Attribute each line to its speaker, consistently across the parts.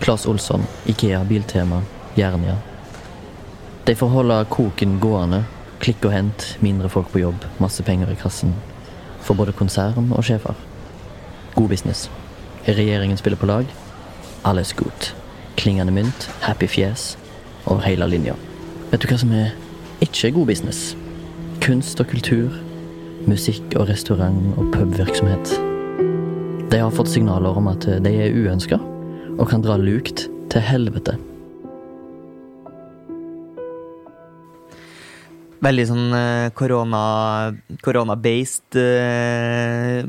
Speaker 1: Claes Olsson, Ikea, Biltema, Jernia. De får holde koken gående. Klikk og hent, mindre folk på jobb, masse penger i kassen. For både konsern og sjefer. God business. Regjeringen spiller på lag. Alles godt. Klingende mynt, happy fjes. Over hele linja. Vet du hva som er ikke god business? Kunst og kultur. Musikk og restaurant og pubvirksomhet. De har fått signaler om at de er uønska og kan dra lukt til helvete.
Speaker 2: Veldig sånn eh, korona korona-based eh,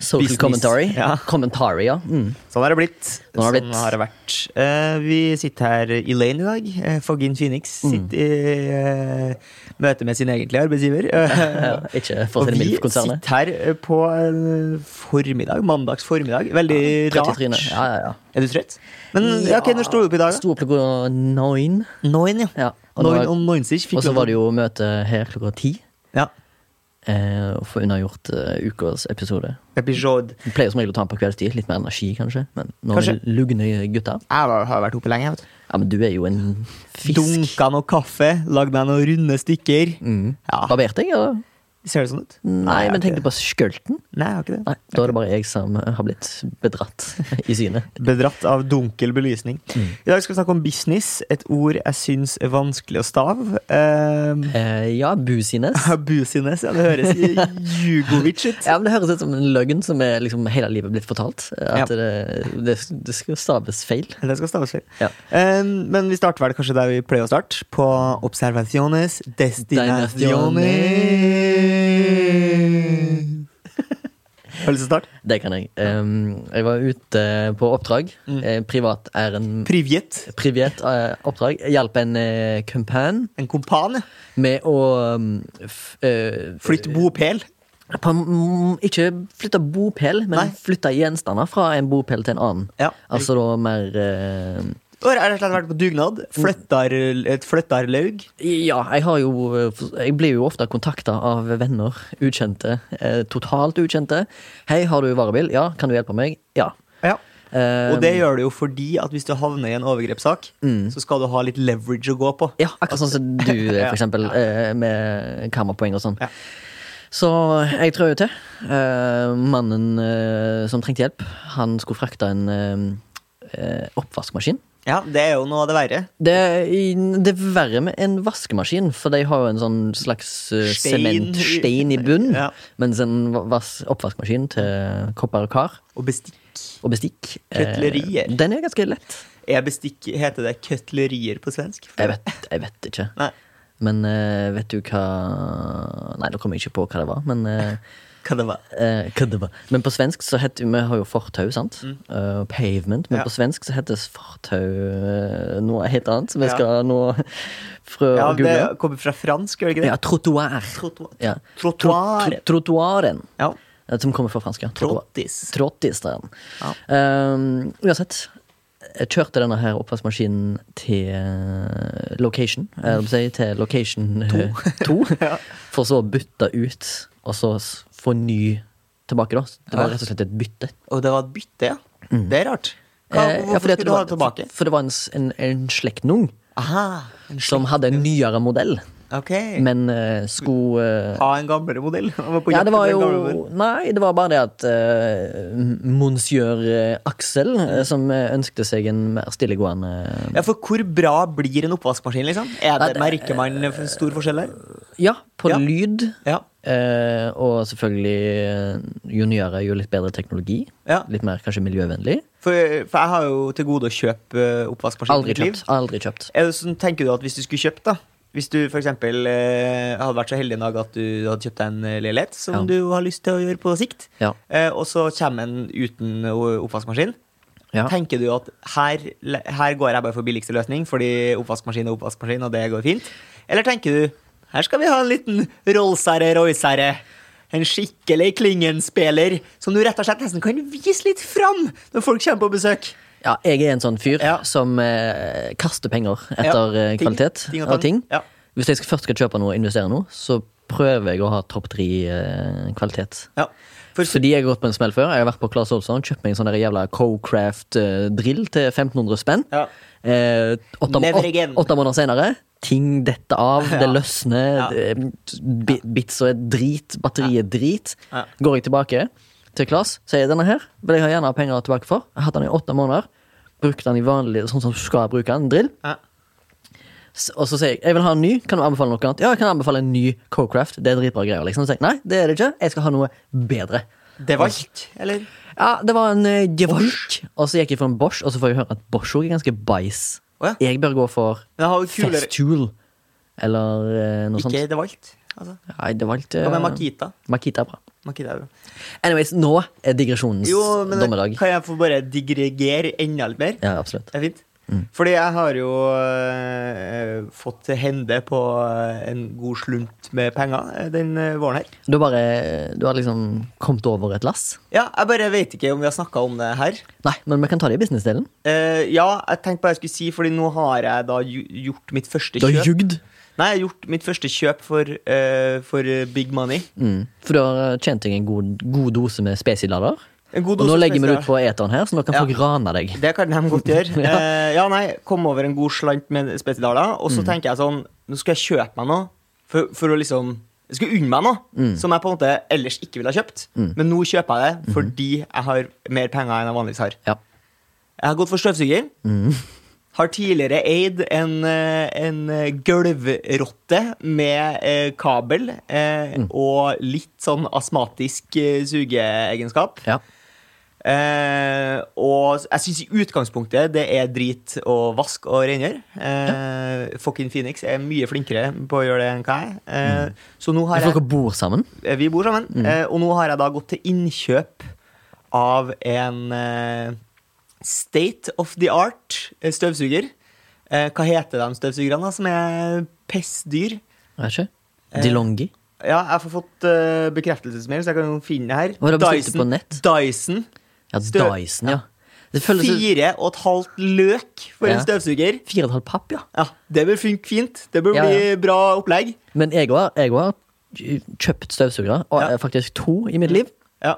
Speaker 1: Social
Speaker 2: Business.
Speaker 1: commentary.
Speaker 2: Ja.
Speaker 1: Commentary, ja. Mm.
Speaker 2: Sånn har det blitt.
Speaker 1: Sånn har det
Speaker 2: Sånn
Speaker 1: blitt.
Speaker 2: har det vært. Eh, vi sitter her i Lane i dag. eh, Fogin Phoenix
Speaker 1: Mm.
Speaker 2: sitter i eh, møte med sin egentlige arbeidsgiver.
Speaker 1: Ja, ikke for å
Speaker 2: Og
Speaker 1: si det
Speaker 2: vi
Speaker 1: mildt, konsernet.
Speaker 2: sitter her eh, på en formiddag, mandags formiddag. Veldig
Speaker 1: Trøtt i
Speaker 2: rart.
Speaker 1: trynet. Ja, ja, ja.
Speaker 2: Er du trøtt? Men ja, ok, når sto du opp i dag? da?
Speaker 1: Sto opp klokka noin.
Speaker 2: Noen, ja.
Speaker 1: Ja. Og,
Speaker 2: Noen
Speaker 1: da-
Speaker 2: og noinsich.
Speaker 1: og så var det jo møte her klokka ti.
Speaker 2: Ja.
Speaker 1: eh, Og få unnagjort eh, ukas episode.
Speaker 2: Episode.
Speaker 1: Vi pleier som regel å ta den på kveldstid. Litt mer energi, kanskje. Men nå er
Speaker 2: Kanskje.
Speaker 1: vi lugne gutter.
Speaker 2: Jeg var- har vært oppe lenge. jeg, vet du.
Speaker 1: Ja, men du er jo en fisk.
Speaker 2: Dunka noe kaffe, lagd meg noen runde stykker.
Speaker 1: Mm.
Speaker 2: Ja,
Speaker 1: Barberte jeg, eller?
Speaker 2: Ser det sånn ut?
Speaker 1: Nei,
Speaker 2: jeg har
Speaker 1: men
Speaker 2: ikke
Speaker 1: tenkte
Speaker 2: det.
Speaker 1: på skjølten.
Speaker 2: Nei, jeg har ikke det.
Speaker 1: Nei, da er det bare jeg som har blitt bedratt i synet.
Speaker 2: Bedratt av dunkel belysning.
Speaker 1: Mm.
Speaker 2: I dag skal vi snakke om business, et ord jeg syns er vanskelig å stave. Eh,
Speaker 1: Eh, ja, busines.
Speaker 2: Busines, ja. Det høres Jugovic ut.
Speaker 1: Ja, men Det høres ut som en løgn som er liksom hele livet blitt fortalt. At
Speaker 2: Ja.
Speaker 1: det, det, det skal staves feil.
Speaker 2: Det skal staves feil.
Speaker 1: Ja.
Speaker 2: Eh, men vi starter vel kanskje der vi pleier å starte, på observaciones destinaciones. Har du lyst til å starte?
Speaker 1: Det kan jeg. Ehm, jeg var ute på oppdrag.
Speaker 2: Mm.
Speaker 1: Eh, privat er en
Speaker 2: Privjet.
Speaker 1: privat eh, oppdrag. Jeg hjalp en eh, kumpan
Speaker 2: En kompan. ja.
Speaker 1: med å um, f, eh,
Speaker 2: Flytt bopel.
Speaker 1: på, mm, Ikke flytte bopel, men
Speaker 2: Nei.
Speaker 1: flytte gjenstander fra en bopel til en annen.
Speaker 2: Ja.
Speaker 1: Altså da mer eh,
Speaker 2: Og Jeg har rett og slett vært på dugnad. Flyttar, et flyttarlaug.
Speaker 1: Ja, jeg har jo Jeg blir jo ofte kontakta av venner. Ukjente. Eh, totalt ukjente. 'Hei, har du varebil?' 'Ja.' 'Kan du hjelpe meg?' 'Ja'. Eh,
Speaker 2: Og det gjør du jo fordi at hvis du havner i en overgrepssak,
Speaker 1: Mm.
Speaker 2: så skal du ha litt leverage å gå på.
Speaker 1: ja, akkurat sånn som du,
Speaker 2: Ja.
Speaker 1: for eksempel, eh, med karmapoeng og sånn.
Speaker 2: Ja.
Speaker 1: Så jeg trød til. Eh, mannen eh, som trengte hjelp, han skulle frakte en eh, eh, oppvaskmaskin.
Speaker 2: Ja, Det er jo noe av det verre.
Speaker 1: Det er, i- det er verre med en vaskemaskin, for de har jo en sånn slags eh,
Speaker 2: Stein i-
Speaker 1: sementstein i bunnen.
Speaker 2: Ja.
Speaker 1: Mens en va- vas oppvaskmaskin til kopper og kar
Speaker 2: Og bestikk.
Speaker 1: og bestikk eh,
Speaker 2: Køtlerier.
Speaker 1: Den er ganske lett.
Speaker 2: Er bestikk Heter det køtlerier på svensk?
Speaker 1: Jeg vet, jeg vet ikke.
Speaker 2: Nei.
Speaker 1: Men eh, vet du hva Nei, nå kommer jeg ikke på hva det var. Men, eh,
Speaker 2: Hva det var?
Speaker 1: eh, hva det var. men på svensk så heter Vi har jo fortau, sant? Eh, pavement. Men
Speaker 2: Mm. Ja.
Speaker 1: på svensk så heter fortau eh, noe helt annet. Som jeg
Speaker 2: Ja.
Speaker 1: skal nå frø
Speaker 2: Ja,
Speaker 1: og
Speaker 2: det
Speaker 1: google.
Speaker 2: kommer fra fransk, gjør det ikke det?
Speaker 1: Ja, trottoir.
Speaker 2: Trottoar.
Speaker 1: Ja.
Speaker 2: Trottoar.
Speaker 1: Tro- Trottoiren.
Speaker 2: Ja.
Speaker 1: Eh, Som kommer fra fransk, ja. Trottoir.
Speaker 2: Trottis.
Speaker 1: Trottis, det er den. Um, uansett. Jeg kjørte denne her oppvaskmaskinen til eh, location. eh, hva skal jeg si, til location eh, to.
Speaker 2: Ja.
Speaker 1: For så å bytte ut, og så s- få ny tilbake, da. Det var
Speaker 2: Ja.
Speaker 1: rett og slett et bytte.
Speaker 2: Og det var et bytte, ja. Det er rart. Hva,
Speaker 1: Mm. Eh, ja,
Speaker 2: hvorfor
Speaker 1: fordi at
Speaker 2: skulle du ha det
Speaker 1: var-
Speaker 2: tilbake?
Speaker 1: For det var en, s- en, en slektning
Speaker 2: Aha. en
Speaker 1: som hadde en nyere modell,
Speaker 2: Ok.
Speaker 1: men eh, skulle eh,
Speaker 2: Ha en gamlere modell. Han var på
Speaker 1: Ja,
Speaker 2: jakt
Speaker 1: det var
Speaker 2: etter en gamlere modell.
Speaker 1: jo Nei, det var bare det at eh, monsieur eh, Aksel,
Speaker 2: Mm.
Speaker 1: eh, som eh, ønskte seg en mer stillegående eh,
Speaker 2: Ja, for hvor bra blir en oppvaskmaskin, liksom?
Speaker 1: Nei,
Speaker 2: Er det,
Speaker 1: det- eh,
Speaker 2: merker man f- stor forskjell der?
Speaker 1: Ja, på
Speaker 2: Ja.
Speaker 1: lyd.
Speaker 2: Ja.
Speaker 1: eh, og selvfølgelig, eh, jo nyere, jo litt bedre teknologi.
Speaker 2: Ja.
Speaker 1: Litt mer kanskje miljøvennlig.
Speaker 2: For, for jeg har jo til gode å kjøpe eh, oppvaskmaskin. i
Speaker 1: Aldri
Speaker 2: mitt liv.
Speaker 1: kjøpt. Aldri kjøpt.
Speaker 2: Er det sånn, tenker du at hvis du skulle kjøpt, da Hvis du for eksempel eh, hadde vært så heldig en dag at du hadde kjøpt deg en eh, leilighet som
Speaker 1: Ja.
Speaker 2: du har lyst til å gjøre på sikt,
Speaker 1: Ja.
Speaker 2: eh, og så kommer en uten eh, oppvaskmaskin
Speaker 1: Ja.
Speaker 2: Tenker du at her, her går jeg bare for billigste løsning fordi oppvaskmaskin er oppvaskmaskin, og det går fint? Eller tenker du her skal vi ha en liten Rolls-herre Royce-herre? En skikkelig Klingen-spiller som du rett og slett nesten kan vise litt fram når folk kommer på besøk.
Speaker 1: Ja, jeg er en sånn fyr
Speaker 2: Ja.
Speaker 1: som eh, kaster penger etter
Speaker 2: Ja,
Speaker 1: eh,
Speaker 2: ting.
Speaker 1: kvalitet
Speaker 2: Ting og
Speaker 1: og
Speaker 2: tang.
Speaker 1: ting.
Speaker 2: Ja.
Speaker 1: Hvis jeg skal- først skal kjøpe noe og investere noe, så prøver jeg å ha topp eh, tre-kvalitet.
Speaker 2: Ja. For
Speaker 1: Fordi jeg har gått på en smell før. Jeg har vært på Claes Olsson og kjøpt meg en sånn der jævla Co-Craft-drill til 1500 spenn.
Speaker 2: Ja.
Speaker 1: Eh, åtte,
Speaker 2: Never
Speaker 1: åtte,
Speaker 2: again.
Speaker 1: åtte måneder senere, ting detter av, det
Speaker 2: Ja.
Speaker 1: løsner,
Speaker 2: Ja.
Speaker 1: ja. bits og er drit, batteriet er drit.
Speaker 2: Ja.
Speaker 1: Går jeg tilbake til Claes, sier jeg, denne her vil jeg ha gjerne ha penger tilbake for. Jeg har hatt den i åtte måneder. Brukt den i vanlig, sånn som du skal bruke den, drill.
Speaker 2: Ja.
Speaker 1: S- Og så sier jeg jeg vil ha en ny, kan du anbefale noe annet? Ja, jeg kan anbefale en ny Co-Craft, det er dritbra greier. Liksom. Så sier jeg nei, det er det ikke, jeg skal ha noe bedre.
Speaker 2: det var
Speaker 1: Altså-
Speaker 2: ikke, eller?
Speaker 1: Ja, det var en eh, Gevorg, og så gikk jeg for en Bosch, og så får jeg høre at Bosch også er ganske bæsj.
Speaker 2: Å ja.
Speaker 1: Jeg bør gå for
Speaker 2: Men jeg har jo kulere
Speaker 1: Festool, eller eh, noe
Speaker 2: Ikke
Speaker 1: sånt.
Speaker 2: det valgt. Altså.
Speaker 1: Nei, det var litt
Speaker 2: Hva med
Speaker 1: eh,
Speaker 2: Makita?
Speaker 1: Makita er bra.
Speaker 2: Makita er bra.
Speaker 1: Anyways, nå er digresjonens
Speaker 2: Jo, men da
Speaker 1: dommedag.
Speaker 2: kan jeg få bare digregere enda litt mer?
Speaker 1: Ja, Mm. absolutt.
Speaker 2: Det er fint. Fordi jeg har jo eh, fått hende på eh, en god slunt med penger eh, den eh, våren her.
Speaker 1: Du har bare Du har liksom kommet over et lass?
Speaker 2: Ja, jeg bare vet ikke om vi har snakka om det her.
Speaker 1: Nei, men vi kan ta det i businessdelen.
Speaker 2: Eh, ja, jeg tenkte bare jeg skulle si, fordi nå har jeg da ju- gjort mitt første
Speaker 1: Du har
Speaker 2: kjøp.
Speaker 1: jugd.
Speaker 2: Nei, jeg har gjort mitt første kjøp for, eh, for eh, big money.
Speaker 1: Mm. For du har eh, tjent deg en god, god dose med spesilader.
Speaker 2: En god
Speaker 1: Og nå
Speaker 2: dose
Speaker 1: legger vi det
Speaker 2: spesial.
Speaker 1: ut på eteren her, så nå kan
Speaker 2: Ja.
Speaker 1: folk rane deg.
Speaker 2: Det kan de godt gjøre. ja. Eh, ja, nei, Kom over en god slant med spesidaler. Og så tenker jeg sånn Nå skal jeg kjøpe meg noe for, for å liksom Jeg skal unne meg noe som jeg på en måte ellers ikke ville ha kjøpt. Men nå kjøper jeg det fordi jeg har mer penger enn jeg vanligvis har.
Speaker 1: Ja.
Speaker 2: Jeg har gått for støvsuger. Har tidligere eid en, eh, en eh, gulvrotte med eh, kabel eh, og litt sånn astmatisk eh, sugeegenskap.
Speaker 1: ja.
Speaker 2: Eh, og jeg syns i utgangspunktet det er drit å vaske og rengjøre. Eh, Fucking Phoenix er mye flinkere på å gjøre det enn hva jeg er.
Speaker 1: Mm.
Speaker 2: Eh, Så nå har
Speaker 1: For
Speaker 2: jeg,
Speaker 1: dere bor sammen?
Speaker 2: vi bor sammen,
Speaker 1: Mm.
Speaker 2: eh, og nå har jeg da gått til innkjøp av en eh, state of the art eh, støvsuger. Eh, hva heter de støvsugerne da, som er pissdyr?
Speaker 1: Er ikke?
Speaker 2: Eh,
Speaker 1: DeLonghi?
Speaker 2: Ja, jeg har fått uh, bekreftelsesmail, så jeg kan jo finne det her.
Speaker 1: Hva har du bestilt på nett?
Speaker 2: Dyson.
Speaker 1: Ja,
Speaker 2: støv-
Speaker 1: Dyson, ja. Det føles fire,
Speaker 2: Fire og et halvt løk for
Speaker 1: Ja.
Speaker 2: en støvsuger.
Speaker 1: fire og et halvt papp, ja.
Speaker 2: Ja, Det bør funke fint. Det bør
Speaker 1: Ja, ja.
Speaker 2: bli bra opplegg.
Speaker 1: Men jeg har, jeg har kjøpt støvsugere, og
Speaker 2: Ja.
Speaker 1: eh, faktisk to i mitt liv.
Speaker 2: Ja,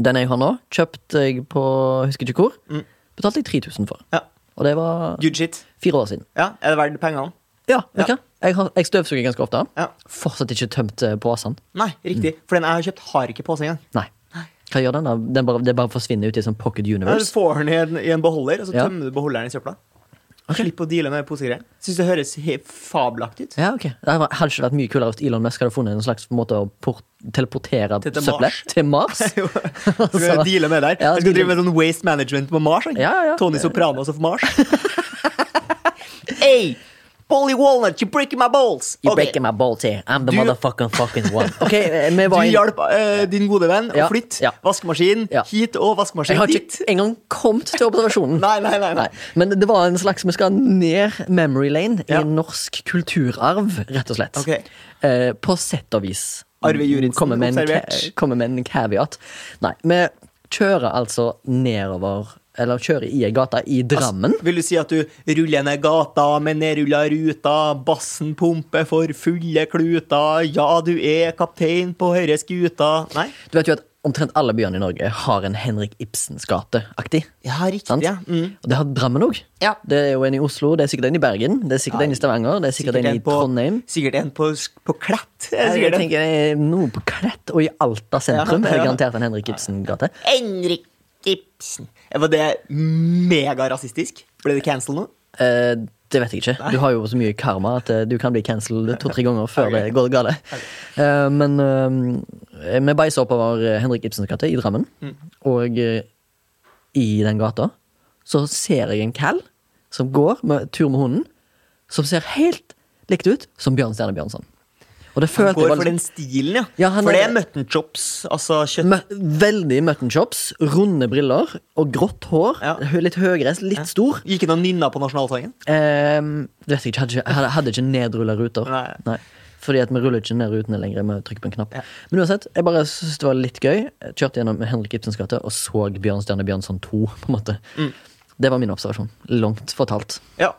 Speaker 1: Den jeg har nå, kjøpte jeg på husker ikke hvor.
Speaker 2: Mm.
Speaker 1: Betalte jeg 3000 for.
Speaker 2: ja.
Speaker 1: Og det var
Speaker 2: Good shit.
Speaker 1: fire år siden.
Speaker 2: Ja, Er det verdt pengene?
Speaker 1: Ja, vet du
Speaker 2: Ja.
Speaker 1: hva? Jeg, har, jeg støvsuger ganske ofte.
Speaker 2: Ja.
Speaker 1: Fortsatt ikke tømt eh, posen.
Speaker 2: Nei,
Speaker 1: Mm.
Speaker 2: riktig. For den jeg har kjøpt, har ikke pose engang.
Speaker 1: Nei. Hva gjør den da? Den bare, det bare forsvinner ut i sånn pocket
Speaker 2: Ja, Du
Speaker 1: universe.
Speaker 2: får den i en, i en beholder, og så
Speaker 1: Ja.
Speaker 2: tømmer du beholderen i søpla. Slipp å deale med posegreier. Syns det høres helt fabelaktig ut.
Speaker 1: Ja, ok. Det hadde vært- hadde ikke vært mye kulere hvis Elon Musk hadde funnet en slags måte å port teleportere
Speaker 2: Til- til Mars.
Speaker 1: søppelet til Mars.
Speaker 2: Jo, Skal vi deale med der?
Speaker 1: Altså, Ja,
Speaker 2: Jeg skal
Speaker 1: deale-
Speaker 2: drive med sånn waste management på Mars. han.
Speaker 1: Ja, ja, ja.
Speaker 2: Tony Sopranos of Mars. hey, Polly Walnut, you're breaking my balls!
Speaker 1: You're
Speaker 2: Ok.
Speaker 1: breaking my balls here. I'm the
Speaker 2: Du-
Speaker 1: motherfucking fucking one. Ok, eh, vi var
Speaker 2: Du
Speaker 1: inne-
Speaker 2: hjalp eh, din gode venn
Speaker 1: Ja,
Speaker 2: å flytte
Speaker 1: ja.
Speaker 2: vaskemaskin
Speaker 1: Ja.
Speaker 2: hit og vaskemaskin
Speaker 1: Jeg har
Speaker 2: dit.
Speaker 1: ikke engang kommet til observasjonen.
Speaker 2: Nei, nei, nei, nei.
Speaker 1: Nei, Men det var en slags Vi skal ned memory lane
Speaker 2: Ja.
Speaker 1: i norsk kulturarv, rett og slett.
Speaker 2: Ok.
Speaker 1: Eh, på sett og vis.
Speaker 2: Arve Juritzen,
Speaker 1: Kommer med en ca-
Speaker 2: observert.
Speaker 1: Kommer med en caveat. Nei, vi kjører altså nedover Eller kjører i ei gate i Drammen.
Speaker 2: Vil du si at du ruller ned gata med nedrulla ruta, bassen pumper for fulle kluter, ja, du er kaptein på høyre skuta Nei?
Speaker 1: Du vet jo at omtrent alle byene i Norge har en Henrik Ibsens gate-aktig.
Speaker 2: Ja, riktig.
Speaker 1: Sant?
Speaker 2: Ja. Mm.
Speaker 1: Og det har Drammen òg.
Speaker 2: Ja.
Speaker 1: Det er jo en i Oslo, det er sikkert en i Bergen, det er sikkert en i Stavanger, det er sikkert, en i
Speaker 2: på,
Speaker 1: Trondheim.
Speaker 2: sikkert en på, på Klett.
Speaker 1: Jeg
Speaker 2: er det sikkert en.
Speaker 1: tenker det er Noe på Klett og i Alta sentrum
Speaker 2: Ja,
Speaker 1: er
Speaker 2: ja.
Speaker 1: det garantert en Henrik Ibsen-gate.
Speaker 2: Henrik Ibsen. Eh, Var det megarasistisk? Ble det cancel nå?
Speaker 1: Eh, det vet jeg ikke. Du har jo så mye karma at eh, du kan bli cancelled to-tre ganger før det går gale. Eh, men eh, vi beisa oppover eh, Henrik Ibsens gate i Drammen,
Speaker 2: Mm.
Speaker 1: og eh, i den gata så ser jeg en kall som går med tur med hunden, som ser helt likt ut som Bjørn Stjerne Bjørnson. Og det
Speaker 2: Han
Speaker 1: følte jeg
Speaker 2: går
Speaker 1: var liksom
Speaker 2: for
Speaker 1: litt-
Speaker 2: den stilen, ja.
Speaker 1: Ja, han
Speaker 2: for det er
Speaker 1: er-
Speaker 2: mutton chops, altså kjøtt...
Speaker 1: Mø- Veldig mutton chops, runde briller og grått hår.
Speaker 2: Ja.
Speaker 1: hø- Litt høyreist, litt stor.
Speaker 2: Gikk han og nynna på nasjonalsangen?
Speaker 1: Ehm, det vet jeg ikke, hadde ikke, hadde- hadde ikke nedrulla ruter.
Speaker 2: Nei.
Speaker 1: Fordi at vi ruller ikke ned rutene lenger. Vi trykker på en knapp
Speaker 2: Ja.
Speaker 1: Men uansett, jeg bare syntes det var litt gøy. Jeg Kjørte gjennom Henrik Ibsens gate og så Bjørnstjerne Bjørnson 2. På en måte
Speaker 2: Mm.
Speaker 1: Det var min observasjon. Langt fortalt.
Speaker 2: Ja.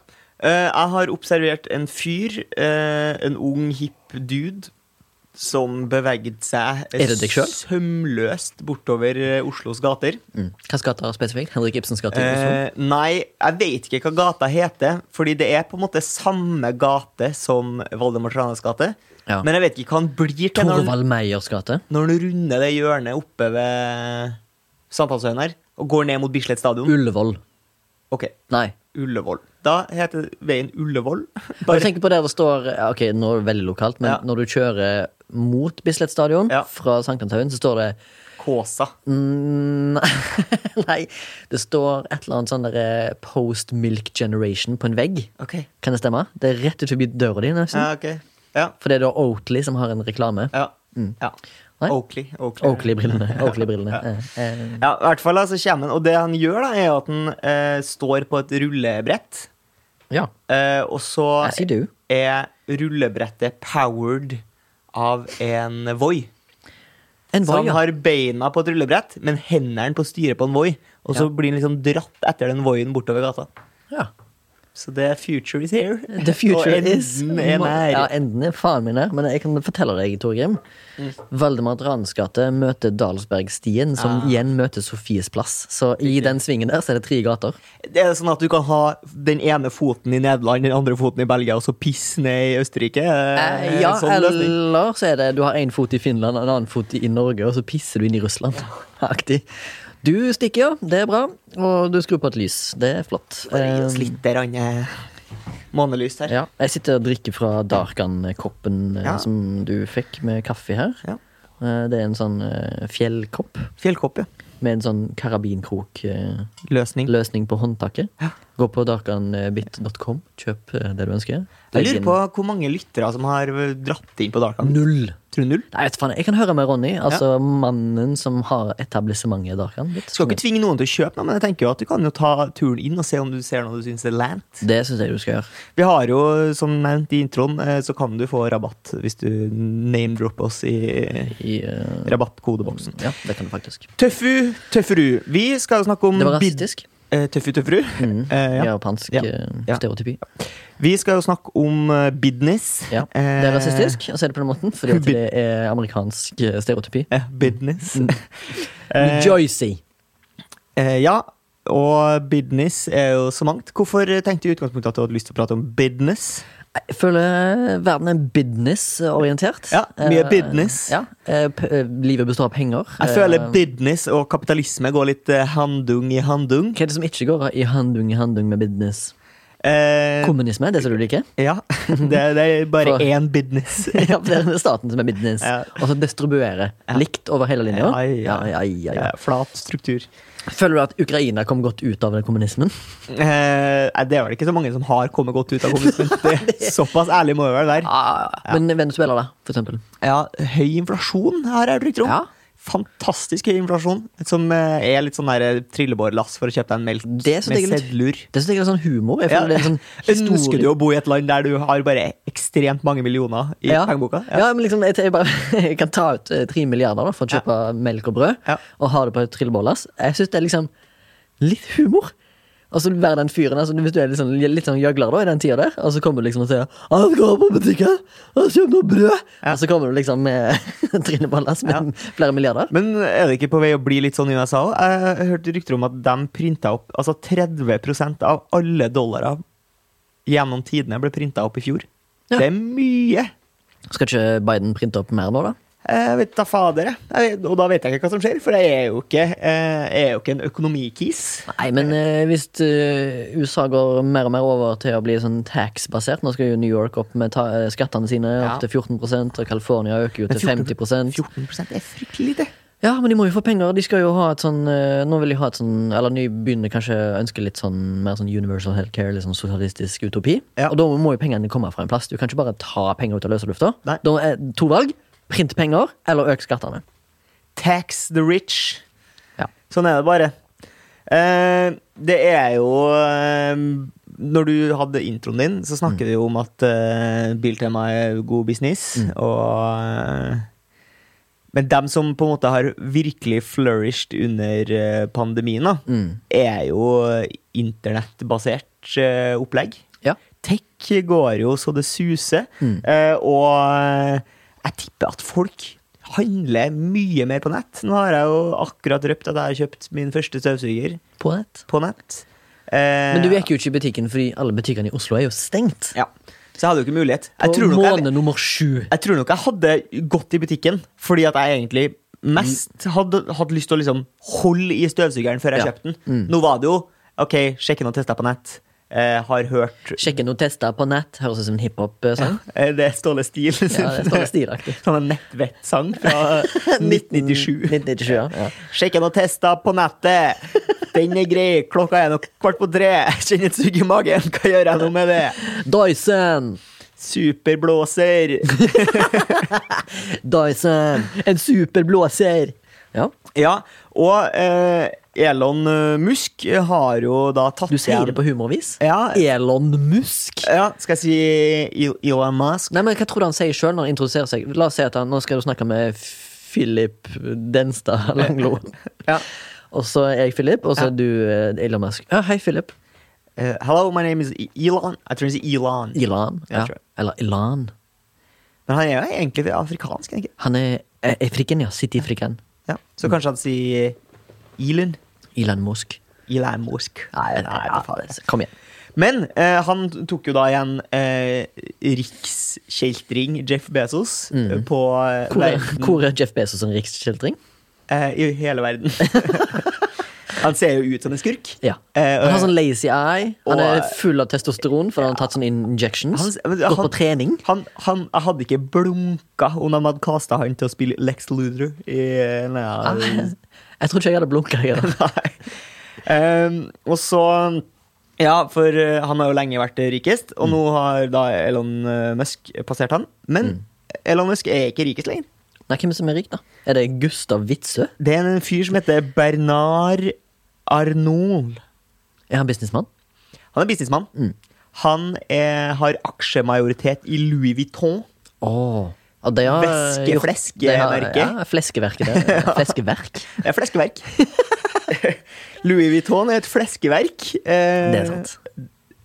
Speaker 2: Eh, jeg har observert en fyr, eh, en ung, hipp dude, som beveget seg eh,
Speaker 1: Er det deg selv?
Speaker 2: sømløst bortover eh, Oslos gater.
Speaker 1: Mm. Hvilken gate er spesifikt? Henrik Ibsens gate? i Oslo?
Speaker 2: Eh, nei, jeg vet ikke hva gata heter, fordi det er på en måte samme gate som Valdemar Tranes gate.
Speaker 1: Ja.
Speaker 2: Men jeg vet ikke hva han blir til når han,
Speaker 1: Torvald Meyers gate?
Speaker 2: når han runder det hjørnet oppe ved Sandhalshøyen her, og går ned mot Bislett stadion.
Speaker 1: Ullevål.
Speaker 2: Ok,
Speaker 1: Nei.
Speaker 2: Ullevål. Da heter veien Ullevål.
Speaker 1: Bare... Jeg tenker på der det står ja, Ok, nå er det veldig lokalt, men
Speaker 2: Ja.
Speaker 1: når du kjører mot Bislett stadion
Speaker 2: Ja.
Speaker 1: fra Sankthanshaugen, så står det
Speaker 2: Kåsa.
Speaker 1: mm, Nei, det står et eller annet sånn der eh, Post Milk Generation på en vegg.
Speaker 2: Ok.
Speaker 1: Kan det stemme? Det er rett ut forbi døra di, nesten.
Speaker 2: Ja, ok. Ja.
Speaker 1: For det er da Oatley som har en reklame.
Speaker 2: ja. ja.
Speaker 1: Nei?
Speaker 2: Oakley. Oakley.
Speaker 1: Oakley-brillene. Oakley-brillene. eh, eh.
Speaker 2: Ja, i hvert fall altså, kommer han, og det han gjør da, er at han eh, står på et rullebrett,
Speaker 1: Ja.
Speaker 2: eh, og så
Speaker 1: As you do.
Speaker 2: er rullebrettet powered av en Voi.
Speaker 1: En
Speaker 2: Så
Speaker 1: Voi,
Speaker 2: han
Speaker 1: ja.
Speaker 2: har beina på et rullebrett, men hendene på styret på en Voi, og så
Speaker 1: Ja.
Speaker 2: blir han liksom dratt etter den Voien bortover gata.
Speaker 1: ja.
Speaker 2: Så the future is here.
Speaker 1: The future
Speaker 2: og enden
Speaker 1: is
Speaker 2: er nær.
Speaker 1: Ja, enden er faen min nær, men jeg kan fortelle deg, Torgrim.
Speaker 2: Mm.
Speaker 1: Valdemar Dranes gate møter Dalsbergstien,
Speaker 2: Ah.
Speaker 1: som igjen møter Sofies plass. Så i den svingen der så er det tre gater.
Speaker 2: Det er sånn at du kan ha den ene foten i Nederland, den andre foten i Belgia, og så pisse ned i Østerrike? Eh,
Speaker 1: Eh, ja,
Speaker 2: en sånn løsning.
Speaker 1: eller så er det du har én fot i Finland, en annen fot i Norge, og så pisser du inn i Russland. Aktig. Du stikker, ja. Det er bra. Og du skrur på et lys. Det er flott.
Speaker 2: Bare gi oss
Speaker 1: Eh,
Speaker 2: litt der, Anne. månelys her.
Speaker 1: ja. Jeg sitter og drikker fra Darkan-koppen eh,
Speaker 2: Ja.
Speaker 1: som du fikk med kaffe her.
Speaker 2: Ja.
Speaker 1: Eh, Det er en sånn eh, fjellkopp.
Speaker 2: Fjellkopp, ja.
Speaker 1: med en sånn karabinkrok-løsning
Speaker 2: Løsning.
Speaker 1: på håndtaket.
Speaker 2: Ja.
Speaker 1: Gå på darkanbit.com, kjøp eh, det du ønsker.
Speaker 2: Jeg
Speaker 1: Legg
Speaker 2: lurer
Speaker 1: inn
Speaker 2: på hvor mange lyttere som har eh, dratt inn på Darkan.
Speaker 1: Null.
Speaker 2: Tror du null?
Speaker 1: Nei, vet du faen, jeg kan høre med Ronny, altså mannen som har etablissementet i Darkan. Litt.
Speaker 2: Skal ikke tvinge noen til å kjøpe noe, men jeg tenker jo at du kan jo ta turen inn og se om du ser noe du syns er lant.
Speaker 1: Det syns jeg du skal gjøre.
Speaker 2: Vi har jo, som nevnt i introen, eh, så kan du få rabatt hvis du name-dropper oss i
Speaker 1: I, eh,
Speaker 2: rabattkodeboksen.
Speaker 1: ja, det kan du faktisk.
Speaker 2: Mm. Tøffu, tøfferu. Vi skal jo snakke om
Speaker 1: Det var
Speaker 2: bid-
Speaker 1: rasistisk.
Speaker 2: Eh, Tøffu, tøfferu.
Speaker 1: Mm.
Speaker 2: Eh, ja.
Speaker 1: Japansk
Speaker 2: Ja.
Speaker 1: eh,
Speaker 2: Ja.
Speaker 1: stereotypi.
Speaker 2: Vi skal jo snakke om eh, business. Eh,
Speaker 1: Ja. Det er rasistisk å si det på den måten, fordi at det er amerikansk eh, stereotypi.
Speaker 2: Eh, business.
Speaker 1: Mm.
Speaker 2: Eh,
Speaker 1: Joycey.
Speaker 2: eh, ja, og business er jo så mangt. Hvorfor tenkte du i utgangspunktet at du hadde lyst til å prate om business?
Speaker 1: Jeg føler verden er business-orientert.
Speaker 2: Ja, mye
Speaker 1: Eh,
Speaker 2: business.
Speaker 1: Ja, eh, p- eh, livet består av penger.
Speaker 2: Jeg
Speaker 1: Eh,
Speaker 2: føler business og kapitalisme går litt eh, handung i handung.
Speaker 1: Hva er det som ikke går i handung i handung med business?
Speaker 2: Eh,
Speaker 1: Kommunisme, det som du liker?
Speaker 2: ja, det, det er bare
Speaker 1: For-
Speaker 2: én business.
Speaker 1: Ja, for det er staten som er business.
Speaker 2: Ja.
Speaker 1: Og så distribuere. Likt over hele linja.
Speaker 2: Ja, ja.
Speaker 1: Ja, ja, ja, ja.
Speaker 2: Eh, Flat struktur.
Speaker 1: Føler du at Ukraina kom godt ut av den kommunismen?
Speaker 2: Eh, nei, det er vel ikke så mange som har kommet godt ut av kommunismen. Det- Såpass ærlig må vi vel være.
Speaker 1: Men Venezuela, da, for eksempel.
Speaker 2: Ja, høy inflasjon har jeg brukt rom.
Speaker 1: Ja.
Speaker 2: Fantastisk høy inflasjon, som eh, er litt sånn der trillebårlass for å kjøpe deg en melk
Speaker 1: Det synes
Speaker 2: med
Speaker 1: jeg er litt-
Speaker 2: sedler.
Speaker 1: Det synes jeg er sånn humor. Jeg
Speaker 2: Ja.
Speaker 1: føler det er en sånn
Speaker 2: Ønsker
Speaker 1: historie-
Speaker 2: du å bo i et land der du har bare ekstremt mange millioner i
Speaker 1: ja.
Speaker 2: pengeboka?
Speaker 1: Ja. men liksom, jeg, jeg, bare, jeg kan ta ut eh, tre milliarder da, for å kjøpe melk og brød
Speaker 2: Ja.
Speaker 1: og ha det på et trillebårlass. Jeg syns det er liksom litt humor. Og så være den fyren altså, Hvis du er litt sånn, litt sånn gjøgler da, i den tida der, og så kommer du liksom og sier 'Jeg skal på butikken og kjøpe noe brød', og så kommer du liksom med trillebårlass med flere milliarder.
Speaker 2: Men er det ikke på vei å bli litt sånn i USA òg? Jeg hørte rykter om at de printa opp altså 30 av alle dollarer gjennom tidene ble printa opp i fjor.
Speaker 1: Ja.
Speaker 2: Det er mye!
Speaker 1: Skal ikke Biden printe opp mer nå, da?
Speaker 2: Jeg Eh, vet da fader, jeg. jeg. vet- Og da vet jeg ikke hva som skjer, for jeg er jo ikke, eh, jeg er jo ikke en økonomikis.
Speaker 1: Nei, men eh, hvis eh, USA går mer og mer over til å bli sånn tax-basert Nå skal jo New York opp med ta eh, skattene sine
Speaker 2: Ja.
Speaker 1: opp til 14 og California øker jo til 50
Speaker 2: 14 er fryktelig lite.
Speaker 1: Ja, men de må jo få penger. De skal jo ha et sånn eh, Nå vil de ha et sånn Eller de begynner kanskje å ønske litt sånn mer sånn universal healthcare, litt sånn sosialistisk utopi.
Speaker 2: Ja.
Speaker 1: Og da må jo pengene komme fra en plass. Du kan ikke bare ta penger ut av løse lufta.
Speaker 2: Nei.
Speaker 1: Da er to valg. Print penger, eller øk skattene.
Speaker 2: Tax the rich.
Speaker 1: Ja.
Speaker 2: Sånn er det bare. Eh, det er jo eh, Når du hadde introen din, så
Speaker 1: Mm.
Speaker 2: snakker vi jo om at eh, Biltema er god business,
Speaker 1: Mm.
Speaker 2: og eh, Men dem som på en måte har virkelig flourished under eh, pandemien, da,
Speaker 1: Mm.
Speaker 2: er jo internettbasert eh, opplegg.
Speaker 1: Ja.
Speaker 2: Tech går jo så det suser,
Speaker 1: Mm.
Speaker 2: eh, og eh, jeg tipper at folk handler mye mer på nett. Nå har jeg jo akkurat røpt at jeg har kjøpt min første støvsuger
Speaker 1: På nett.
Speaker 2: på nett. Eh,
Speaker 1: Men du gikk jo ikke i butikken, fordi alle butikkene i Oslo er jo stengt.
Speaker 2: Ja, så jeg hadde jo ikke mulighet.
Speaker 1: På
Speaker 2: Jeg tror, nok
Speaker 1: måned
Speaker 2: jeg,
Speaker 1: nummer sju.
Speaker 2: jeg tror nok jeg hadde gått i butikken, fordi at jeg egentlig mest hadde, hadde lyst til å liksom holde i støvsugeren før jeg
Speaker 1: Mm. Ja. Mm.
Speaker 2: kjøpte den. Nå var det jo OK, sjekke noen tester på nett. Eh, har hørt
Speaker 1: Sjekke noen tester på nett. Høres ut som en hiphop-sang.
Speaker 2: Eh, Det er Ståle Stil sin
Speaker 1: Ja, det står stilaktig.
Speaker 2: sånn en nettvett-sang fra 1997.
Speaker 1: 1997, ja. ja.
Speaker 2: Sjekk noen tester på nettet! Den er grei! Klokka er nok kvart på tre! Jeg Kjenner et sug i magen! Hva gjør jeg nå med det?
Speaker 1: Dyson!
Speaker 2: Superblåser!
Speaker 1: Dyson! En superblåser! Ja.
Speaker 2: Ja, og eh, Elon Musk har jo da tatt
Speaker 1: Du sier det på humorvis.
Speaker 2: Ja.
Speaker 1: Elon Musk.
Speaker 2: Ja, skal jeg si Il- Elon Musk?
Speaker 1: Nei, men Hva tror du han sier sjøl når han introduserer seg? La oss si at han, Nå skal du snakke med Philip Denstad Langlo.
Speaker 2: Ja.
Speaker 1: Og så er jeg Philip, og så er du eh, Elon Musk. Ja, hei, Philip.
Speaker 2: Eh, hello, my name is Elon. Jeg tror han sier Elon.
Speaker 1: Ilan.
Speaker 2: Ja,
Speaker 1: Ja.
Speaker 2: tror jeg.
Speaker 1: Eller Ilan.
Speaker 2: Men han er jo egentlig afrikansk, er han ikke?
Speaker 1: Han er eh, afrikan, ja. City afrikan.
Speaker 2: Ja. Så kanskje han sier Elon?
Speaker 1: Elon Musk.
Speaker 2: Elon Musk.
Speaker 1: Nei,
Speaker 2: hva faen er det?
Speaker 1: Kom igjen.
Speaker 2: Men eh, han tok jo da igjen eh, rikskjeltring Jeff Bezos eh, på eh,
Speaker 1: Mm. Hvor er,
Speaker 2: verden,
Speaker 1: hvor er Jeff Bezos
Speaker 2: sånn
Speaker 1: en rikskjeltring?
Speaker 2: eh, i hele verden. han ser jo ut som en skurk.
Speaker 1: Ja.
Speaker 2: Eh,
Speaker 1: Han har sånn lazy eye. Han
Speaker 2: og-
Speaker 1: er full av testosteron, for han har tatt sånne injections.
Speaker 2: Han- men
Speaker 1: Gått på
Speaker 2: han-
Speaker 1: trening.
Speaker 2: Han, han, jeg hadde ikke blunka om de hadde kasta han til å spille Lex Luthor i eh, nei,
Speaker 1: Jeg, jeg tror ikke jeg hadde blunka. jeg da.
Speaker 2: Nei. Ehm, og så Ja, for eh, han har jo lenge vært rikest,
Speaker 1: Mm.
Speaker 2: og nå har da Elon eh, Musk passert han. Men
Speaker 1: Mm.
Speaker 2: Elon Musk er ikke rikest lenger.
Speaker 1: Nei, hvem er det som er rik, da? Er det Gustav Witzøe?
Speaker 2: Det er en fyr som heter Bernard Arnold.
Speaker 1: Er han businessmann?
Speaker 2: Han er businessmann.
Speaker 1: Mm.
Speaker 2: Han er, har aksjemajoritet i Louis Vuitton.
Speaker 1: Oh. De har
Speaker 2: Væske-
Speaker 1: gjort-
Speaker 2: fleske-
Speaker 1: de har-
Speaker 2: merke.
Speaker 1: Ja, fleskeverket. Det. Fleskeverk.
Speaker 2: Det er fleskeverk. Louis Vuitton er et fleskeverk. Eh,
Speaker 1: Det er sant.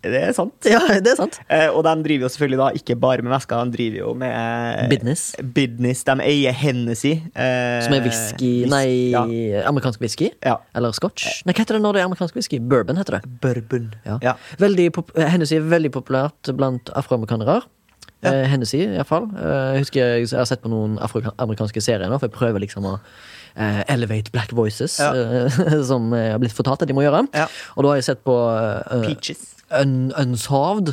Speaker 2: Det er sant.
Speaker 1: Ja, det er sant.
Speaker 2: Eh, og de driver jo selvfølgelig da ikke bare med væsker, de driver jo med eh,
Speaker 1: Business.
Speaker 2: Business. De eier Hennessy. eh,
Speaker 1: Som er whisky
Speaker 2: whis-
Speaker 1: Nei,
Speaker 2: Ja.
Speaker 1: amerikansk whisky?
Speaker 2: Ja.
Speaker 1: Eller scotch? Nei, hva heter det når det er amerikansk whisky? Bourbon heter det.
Speaker 2: Bourbon.
Speaker 1: Ja.
Speaker 2: Ja.
Speaker 1: Veldig pop eh, Hennessy er veldig populært blant afroamerikanere.
Speaker 2: Ja.
Speaker 1: Eh, Hennessy, iallfall. Eh, jeg husker jeg, jeg har sett på noen afroamerikanske serier nå, for jeg prøver liksom å eh, elevate black voices,
Speaker 2: Ja.
Speaker 1: eh, som jeg har blitt fortalt at de må gjøre.
Speaker 2: Ja.
Speaker 1: Og da har jeg sett på eh,
Speaker 2: Peaches.
Speaker 1: Un Unsaved,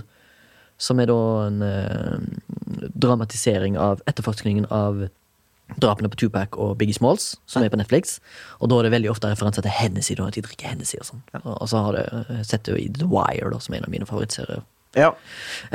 Speaker 1: som er da en eh, dramatisering av etterforskningen av drapene på Tupac og Biggie Smalls, som er på Netflix. Og da er det veldig ofte referanser til Hennessy, da, at de drikker Hennessy og sånn. Og og så har det eh, sett det jo i The Wire, da, som er en av mine favorittserier.
Speaker 2: Ja.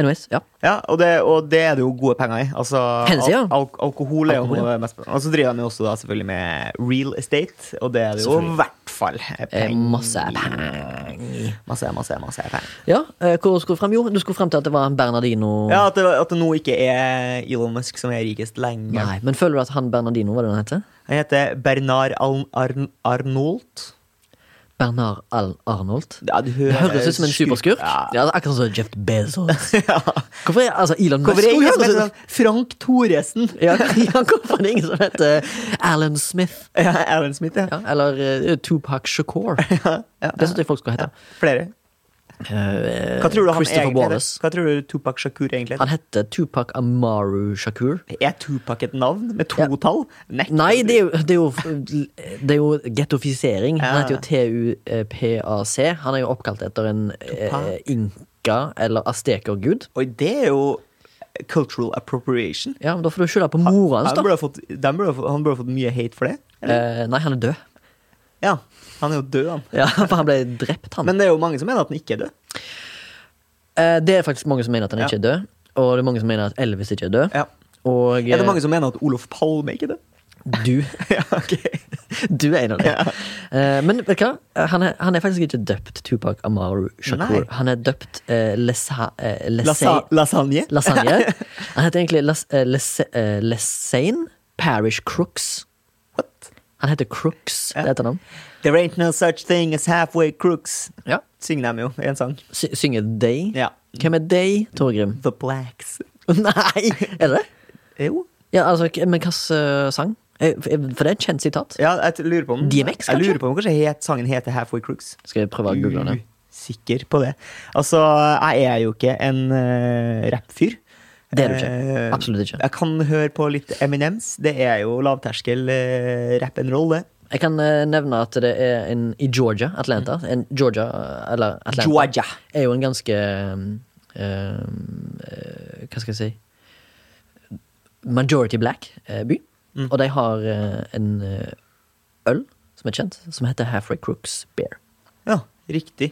Speaker 1: Anyways, ja.
Speaker 2: Ja, og det, og det er det jo gode penger i. Altså,
Speaker 1: Hennessy, ja.
Speaker 2: al al alkohol er jo
Speaker 1: Alkohol,
Speaker 2: noe av det mest Og så driver de jo også da selvfølgelig med real estate, og det er det jo i
Speaker 1: Selvfølgelig.
Speaker 2: hvert fall
Speaker 1: Eh,
Speaker 2: penger
Speaker 1: masse
Speaker 2: i.
Speaker 1: penger.
Speaker 2: Masse, masse, masse penger.
Speaker 1: Ja, eh, hvor skulle du frem? Jo, du skulle frem til at det var en Bernardino
Speaker 2: Ja, at det, at det nå ikke er Elon Musk som er rikest lenger.
Speaker 1: Nei, men føler du at han Bernardino, hva er det han heter?
Speaker 2: Han heter Bernard Al Arn Arnold.
Speaker 1: Bernard Al Arnold?
Speaker 2: Ja, du hører-
Speaker 1: Det høres ut som en superskurk.
Speaker 2: Ja.
Speaker 1: Ja, akkurat som Jeff Bezos.
Speaker 2: Ja.
Speaker 1: Hvorfor er altså Elon Musk
Speaker 2: Hvorfor er det ingen som
Speaker 1: Hvorfor
Speaker 2: heter
Speaker 1: høres
Speaker 2: sånn Frank Thoresen?
Speaker 1: det- ja, ja, hvorfor er det ingen som heter eh, Alan Smith?
Speaker 2: Ja, Alan Smith, ja.
Speaker 1: Ja, eller eh, Tupac Shakur. Det syns jeg folk skal hete.
Speaker 2: Flere.
Speaker 1: Eh,
Speaker 2: Hva tror du han
Speaker 1: Christopher
Speaker 2: egentlig
Speaker 1: Wallace.
Speaker 2: heter? Hva tror du Tupac Shakur egentlig
Speaker 1: Han
Speaker 2: heter?
Speaker 1: heter Tupac Amaru Shakur.
Speaker 2: Er Tupac et navn med to
Speaker 1: Ja.
Speaker 2: tall? Nei.
Speaker 1: Nei, det er jo, det er jo, det er jo gettofisering. Han heter jo TUPAC. Han er jo oppkalt etter en eh, inka- eller aztekergud.
Speaker 2: Oi, det er jo cultural appropriation.
Speaker 1: Ja, men da får du skylda på mora hans,
Speaker 2: Han
Speaker 1: da.
Speaker 2: burde ha fått, den burde ha fått, han burde ha fått mye hate for det.
Speaker 1: Eh, nei, han er død.
Speaker 2: Ja, han er jo død, han.
Speaker 1: Ja, for han ble drept, han.
Speaker 2: Men det er jo mange som mener at han ikke er død.
Speaker 1: Eh, det er faktisk mange som mener at han
Speaker 2: Ja.
Speaker 1: ikke er død. Og det er mange som mener at Elvis ikke er død.
Speaker 2: Ja.
Speaker 1: Og
Speaker 2: Er det mange som mener at Olof Palme ikke er død?
Speaker 1: eh, du
Speaker 2: ja, ok.
Speaker 1: Du er en av dem. Eh, men vet du hva? Han er, han er faktisk ikke døpt Tupac Amaru Shakur.
Speaker 2: Nei.
Speaker 1: Han er døpt eh, Lesa... eh,
Speaker 2: Lasa
Speaker 1: Lesay-
Speaker 2: lasagne?
Speaker 1: Lasagne. Han heter egentlig Las, eh, Lese- eh, Lesane Parish Crooks.
Speaker 2: What?
Speaker 1: Han heter Crooks,
Speaker 2: Ja.
Speaker 1: det heter han.
Speaker 2: There ain't no such thing as halfway crooks.
Speaker 1: Ja.
Speaker 2: Synger de jo i en sang.
Speaker 1: Sy synger They.
Speaker 2: Ja.
Speaker 1: Hvem er They, Torgrim?
Speaker 2: The Blacks.
Speaker 1: Nei! Er det det?
Speaker 2: Jo.
Speaker 1: Ja, altså, k- men hvilken sang? Eh, For for det er et kjent sitat.
Speaker 2: Ja, jeg t- lurer på om
Speaker 1: DMX,
Speaker 2: Jeg
Speaker 1: kanskje?
Speaker 2: lurer på om kanskje het, sangen heter Halfway Crooks.
Speaker 1: Skal jeg prøve å google det?
Speaker 2: Usikker på det. Altså, jeg er jo ikke en uh, rappfyr.
Speaker 1: Det er du ikke.
Speaker 2: Eh,
Speaker 1: Absolutt ikke.
Speaker 2: Jeg kan høre på litt Eminems. Det er jo lavterskel eh, rap and roll, det.
Speaker 1: Jeg kan eh, nevne at det er en i Georgia, Atlanta. En Georgia, eh, eller Atlanta.
Speaker 2: Mm. Georgia.
Speaker 1: er jo en ganske um, um, eh, Hva skal jeg si Majority black eh, by.
Speaker 2: Mm.
Speaker 1: Og de har eh, en eh, øl som er kjent, som heter Halfway Crooks Beer.
Speaker 2: Ja, riktig.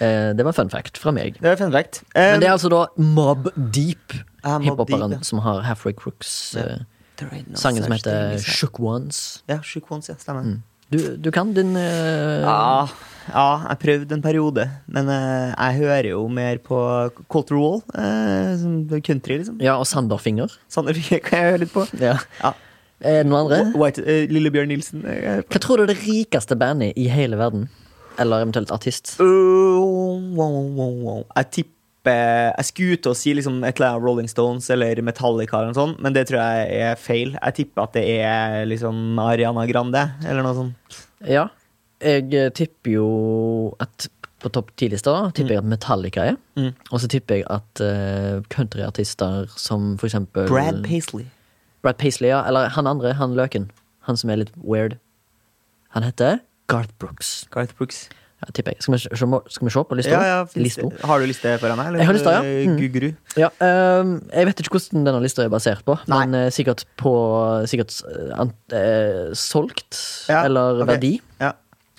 Speaker 1: Eh, det var fun fact fra meg.
Speaker 2: Det er fun fact. Eh,
Speaker 1: Men det er altså da Mob Deep,
Speaker 2: Ah, Mobb Deep,
Speaker 1: hiphoperen
Speaker 2: ja.
Speaker 1: som har Halfway Crooks. eh,
Speaker 2: There ain't no
Speaker 1: sangen som
Speaker 2: such thing
Speaker 1: heter
Speaker 2: as half-
Speaker 1: Shook Ones.
Speaker 2: Ja, Shook Ones, ja. Stemmer.
Speaker 1: Mm. Du, du kan din eh,
Speaker 2: Ja, ja, jeg prøvde en periode, men eh, jeg hører jo mer på Colter Wall. eh, som country, liksom.
Speaker 1: ja, og Sanderfinger.
Speaker 2: Sander Fie kan jeg høre litt på.
Speaker 1: Ja.
Speaker 2: Ja.
Speaker 1: Er det noen andre?
Speaker 2: White, eh, Lillebjørn Nilsen. eh, jeg hører på.
Speaker 1: Hva tror du er det rikeste bandet i hele verden? Eller eventuelt artist?
Speaker 2: Uh, wow, wow, wow. Jeg tipper Jeg skulle ut og si liksom et eller annet Rolling Stones eller Metallica, eller noe sånt, men det tror jeg er feil. Jeg tipper at det er liksom Ariana Grande eller noe sånt.
Speaker 1: Ja. Jeg eh, tipper jo at på topp ti-lista tipper jeg at Metallica er.
Speaker 2: Mm.
Speaker 1: Og så tipper jeg at eh, countryartister som for eksempel
Speaker 2: Brad Paisley.
Speaker 1: Brad Paisley, ja. Eller han andre, han løken. Han som er litt weird. Han heter Garth Brooks.
Speaker 2: Garth Brooks.
Speaker 1: Ja, tipper jeg. Skal vi, se- må- skal vi se på lista?
Speaker 2: Ja, ja, finnes
Speaker 1: Lista.
Speaker 2: det- har du liste foran deg? eller?
Speaker 1: Jeg har lista, ja.
Speaker 2: Eh,
Speaker 1: Mm.
Speaker 2: Guguru.
Speaker 1: Ja, ehm, jeg vet ikke hvordan denne lista er basert på,
Speaker 2: Nei.
Speaker 1: men eh, sikkert på sikkert, eh, an, eh, solgt
Speaker 2: Ja,
Speaker 1: eller
Speaker 2: ok.
Speaker 1: verdi.
Speaker 2: Ja.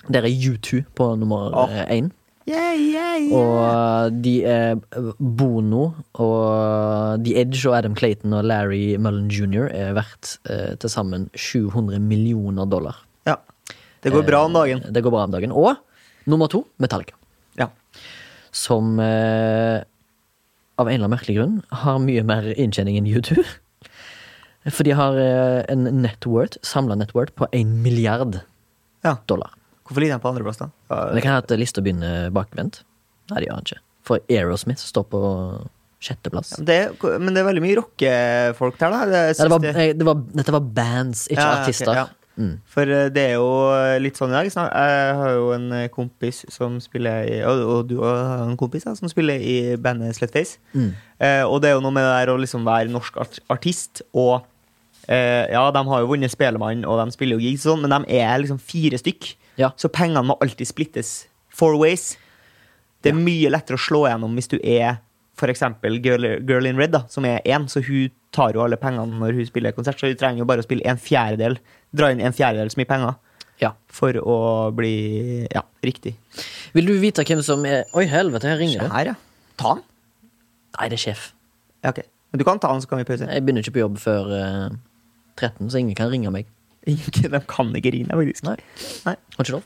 Speaker 1: Der er U2 på nummer
Speaker 2: Åh.
Speaker 1: eh, én.
Speaker 2: Yeah, yeah, yeah.
Speaker 1: Og eh, de er Bono og eh, The Edge og Adam Clayton og Larry Mullen jr. er verdt eh, til sammen 700 millioner dollar. Eh,
Speaker 2: ja. Eh, Det går bra om dagen.
Speaker 1: Det går bra om dagen. Og nummer to, Metallica.
Speaker 2: Ja.
Speaker 1: Som eh, av en eller annen merkelig grunn har mye mer inntjening enn U2. For de har eh, en networth, samla networth på én milliard
Speaker 2: ja.
Speaker 1: dollar.
Speaker 2: Hvorfor ligger den på andreplass, da? Ja,
Speaker 1: Men Det kan hende at lista begynner bakvendt. Nei, det gjør den ikke. For Aerosmith står på sjetteplass.
Speaker 2: men det, men det er veldig mye rockefolk der, da. Det
Speaker 1: Ja, det var,
Speaker 2: siste-
Speaker 1: eh, det var, dette var bands, ikke
Speaker 2: Ja, ja, ok,
Speaker 1: artister.
Speaker 2: ja.
Speaker 1: Mm.
Speaker 2: For eh, det er jo eh, litt sånn i dag. snak- Jeg har jo en eh, kompis som spiller i Og, og du har en kompis da, som spiller i bandet Slutface.
Speaker 1: Mm.
Speaker 2: Eh, og det er jo noe med det der å liksom være norsk art artist og eh, Ja, de har jo vunnet Spelemann, og de spiller jo gigs og sånn, men de er liksom fire stykk.
Speaker 1: Ja.
Speaker 2: Så pengene må alltid splittes four ways. Det er mye lettere å slå gjennom hvis du er f.eks. Girl, Girl in Red, da, som er én, så hun tar jo alle pengene når hun spiller konsert, så hun trenger jo bare å spille en fjerdedel, dra inn en fjerdedel så mye penger
Speaker 1: Ja.
Speaker 2: for å bli ja, riktig.
Speaker 1: Vil du vite hvem som er Oi, helvete, her ringer det.
Speaker 2: Her, ja. Ta den.
Speaker 1: Nei, det er sjef.
Speaker 2: Ja, ok. Men du kan ta den, så kan vi pause.
Speaker 1: Jeg begynner ikke på jobb før eh, 13, så ingen kan ringe meg.
Speaker 2: Ikke- De kan ikke rime, faktisk.
Speaker 1: Nei.
Speaker 2: Nei.
Speaker 1: Har ikke lov.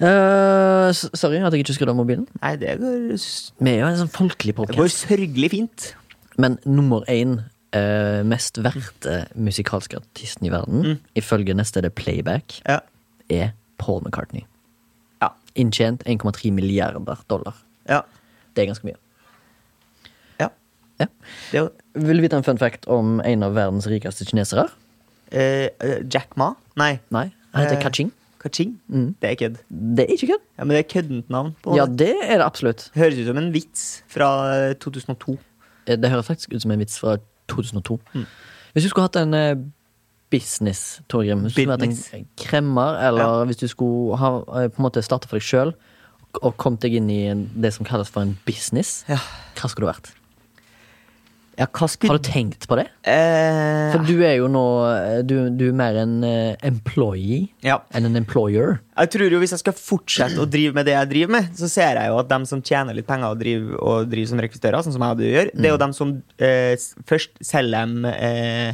Speaker 1: Eh, s- sorry at jeg ikke skrudde av mobilen.
Speaker 2: Nei, det går, s-
Speaker 1: Vi er jo en sånn folkelig
Speaker 2: det går
Speaker 1: podkast.
Speaker 2: sørgelig fint.
Speaker 1: Men nummer én eh, mest verdt musikalske artisten i verden, ifølge neste er det Playback,
Speaker 2: Ja.
Speaker 1: er Paul McCartney.
Speaker 2: Ja.
Speaker 1: Inntjent 1,3 milliarder dollar.
Speaker 2: Ja.
Speaker 1: Det er ganske mye.
Speaker 2: ja.
Speaker 1: Ja.
Speaker 2: Det er jo
Speaker 1: Vil du vite en fun fact om en av verdens rikeste kinesere?
Speaker 2: eh, eh, Jack Ma? Nei.
Speaker 1: Nei, han heter
Speaker 2: Eh.
Speaker 1: Kaching.
Speaker 2: Kaching? Det er kødd.
Speaker 1: Det er ikke kødd.
Speaker 2: Ja, men det er køddent navn. på
Speaker 1: Ja,
Speaker 2: det.
Speaker 1: det er det absolutt.
Speaker 2: Høres ut som en vits fra eh, 2002.
Speaker 1: Eh, Det høres faktisk ut som en vits fra 2002.
Speaker 2: Mm.
Speaker 1: Hvis du skulle hatt en eh, business, Torgrim, hvis du skulle hatt
Speaker 2: Business.
Speaker 1: en kremmer, eller hvis du skulle ha, eh, på en måte starte for deg sjøl og kommet deg inn i en, det som kalles for en business,
Speaker 2: Ja.
Speaker 1: hva skulle du vært?
Speaker 2: Ja, hva skulle
Speaker 1: Har du tenkt på det?
Speaker 2: eh,
Speaker 1: For du er jo nå eh, Du, du er mer en eh, employee
Speaker 2: Ja.
Speaker 1: enn en employer.
Speaker 2: Jeg tror jo Hvis jeg skal fortsette å drive med det jeg driver med, så ser jeg jo at dem som tjener litt penger og driver, og driver som rekvisitører, sånn som jeg og du gjør, det er jo dem som eh, s- først selger dem eh,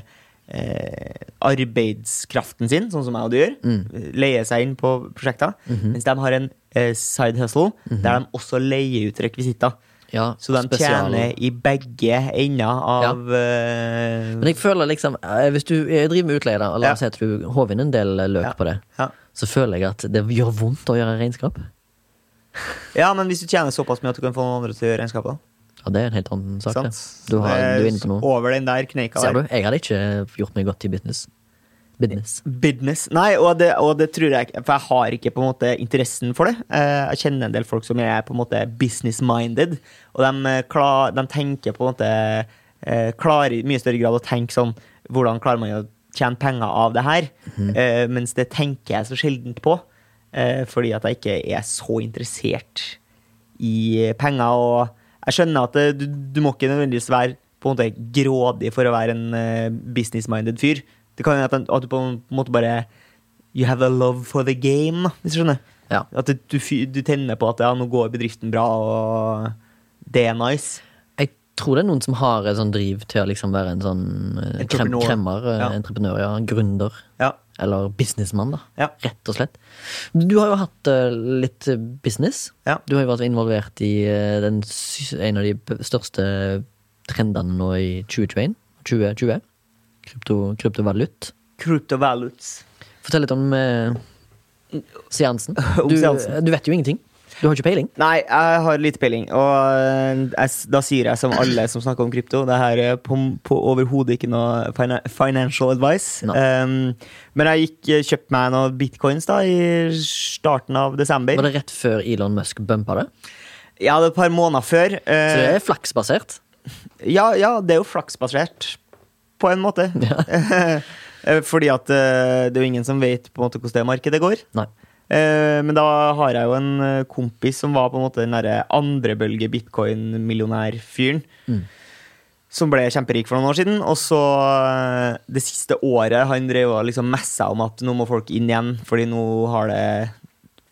Speaker 2: eh, arbeidskraften sin, sånn som jeg og du gjør. Leier seg inn på prosjekter. Mens de har en eh, side hustle der de også leier ut rekvisitter.
Speaker 1: Ja,
Speaker 2: Så de
Speaker 1: spesial-
Speaker 2: tjener i begge ender av eh,
Speaker 1: Men jeg føler liksom eh, Hvis du jeg driver med utleie, da, og la
Speaker 2: Ja.
Speaker 1: oss si at du håver inn en del eh, løk
Speaker 2: Ja.
Speaker 1: på det,
Speaker 2: ja.
Speaker 1: så føler jeg at det gjør vondt å gjøre regnskap.
Speaker 2: ja, men hvis du tjener såpass mye at du kan få noen andre til å gjøre regnskapet, da.
Speaker 1: Ja, det er en helt annen sak,
Speaker 2: Sant?
Speaker 1: det. Du, har,
Speaker 2: Det er
Speaker 1: du er inne på noe.
Speaker 2: Over den der kneika
Speaker 1: Ser
Speaker 2: der.
Speaker 1: du? Jeg hadde ikke gjort meg godt i business. Business.
Speaker 2: Business. Nei, og det, og det tror jeg ikke, for jeg har ikke på en måte interessen for det. Eh, Jeg kjenner en del folk som er på en måte business-minded, og de, eh, kla- de tenker på en måte eh, Klarer i mye større grad å tenke sånn Hvordan klarer man å tjene penger av det her? Eh, Mens det tenker jeg så sjeldent på, eh, fordi at jeg ikke er så interessert i penger. Og jeg skjønner at det, du, du må ikke nødvendigvis være på en måte grådig for å være en eh, business-minded fyr. Det kan hende at, den- at du på en måte bare You have a love for the game, da, hvis du skjønner.
Speaker 1: Ja.
Speaker 2: At du, du, fy- du tenner på at ja, nå går bedriften bra, og det er nice.
Speaker 1: Jeg tror det er noen som har en sånn driv til å liksom være en sånn eh, krem,
Speaker 2: Entreprenør.
Speaker 1: kremmer, eh,
Speaker 2: Ja.
Speaker 1: entreprenør, ja, gründer.
Speaker 2: Ja.
Speaker 1: Eller businessmann, da.
Speaker 2: Ja.
Speaker 1: Rett og slett. Du har jo hatt eh, litt eh, business.
Speaker 2: Ja.
Speaker 1: Du har jo vært involvert i eh, den, sy- en av de p- største trendene nå i 2021. 2020. Krypto, kryptovalut.
Speaker 2: Cryptovaluts.
Speaker 1: Fortell litt om eh, seansen.
Speaker 2: Om
Speaker 1: Du, eh,
Speaker 2: seansen.
Speaker 1: du vet jo ingenting. Du har ikke peiling.
Speaker 2: Nei, jeg har lite peiling. Og eh, jeg, s- da sier jeg som alle som snakker om krypto, det her er på, på overhodet ikke noe fina, financial advice.
Speaker 1: Nei.
Speaker 2: Um, men jeg gikk, eh, kjøpte meg noen bitcoins da i starten av desember.
Speaker 1: Var det rett før Elon Musk bumpa det?
Speaker 2: Ja, det er et par måneder før. eh,
Speaker 1: Så det er flaksbasert.
Speaker 2: ja, ja, det er jo flaksbasert, på en måte.
Speaker 1: Ja.
Speaker 2: Eh, Fordi at eh, det er jo ingen som vet på en måte hvordan det markedet går.
Speaker 1: Nei.
Speaker 2: Eh, Men da har jeg jo en eh, kompis som var på en måte den derre andrebølge bitcoin-millionær-fyren.
Speaker 1: Mm.
Speaker 2: Som ble kjemperik for noen år siden. Og så eh, det siste året han drev og liksom messa om at nå må folk inn igjen, fordi nå har det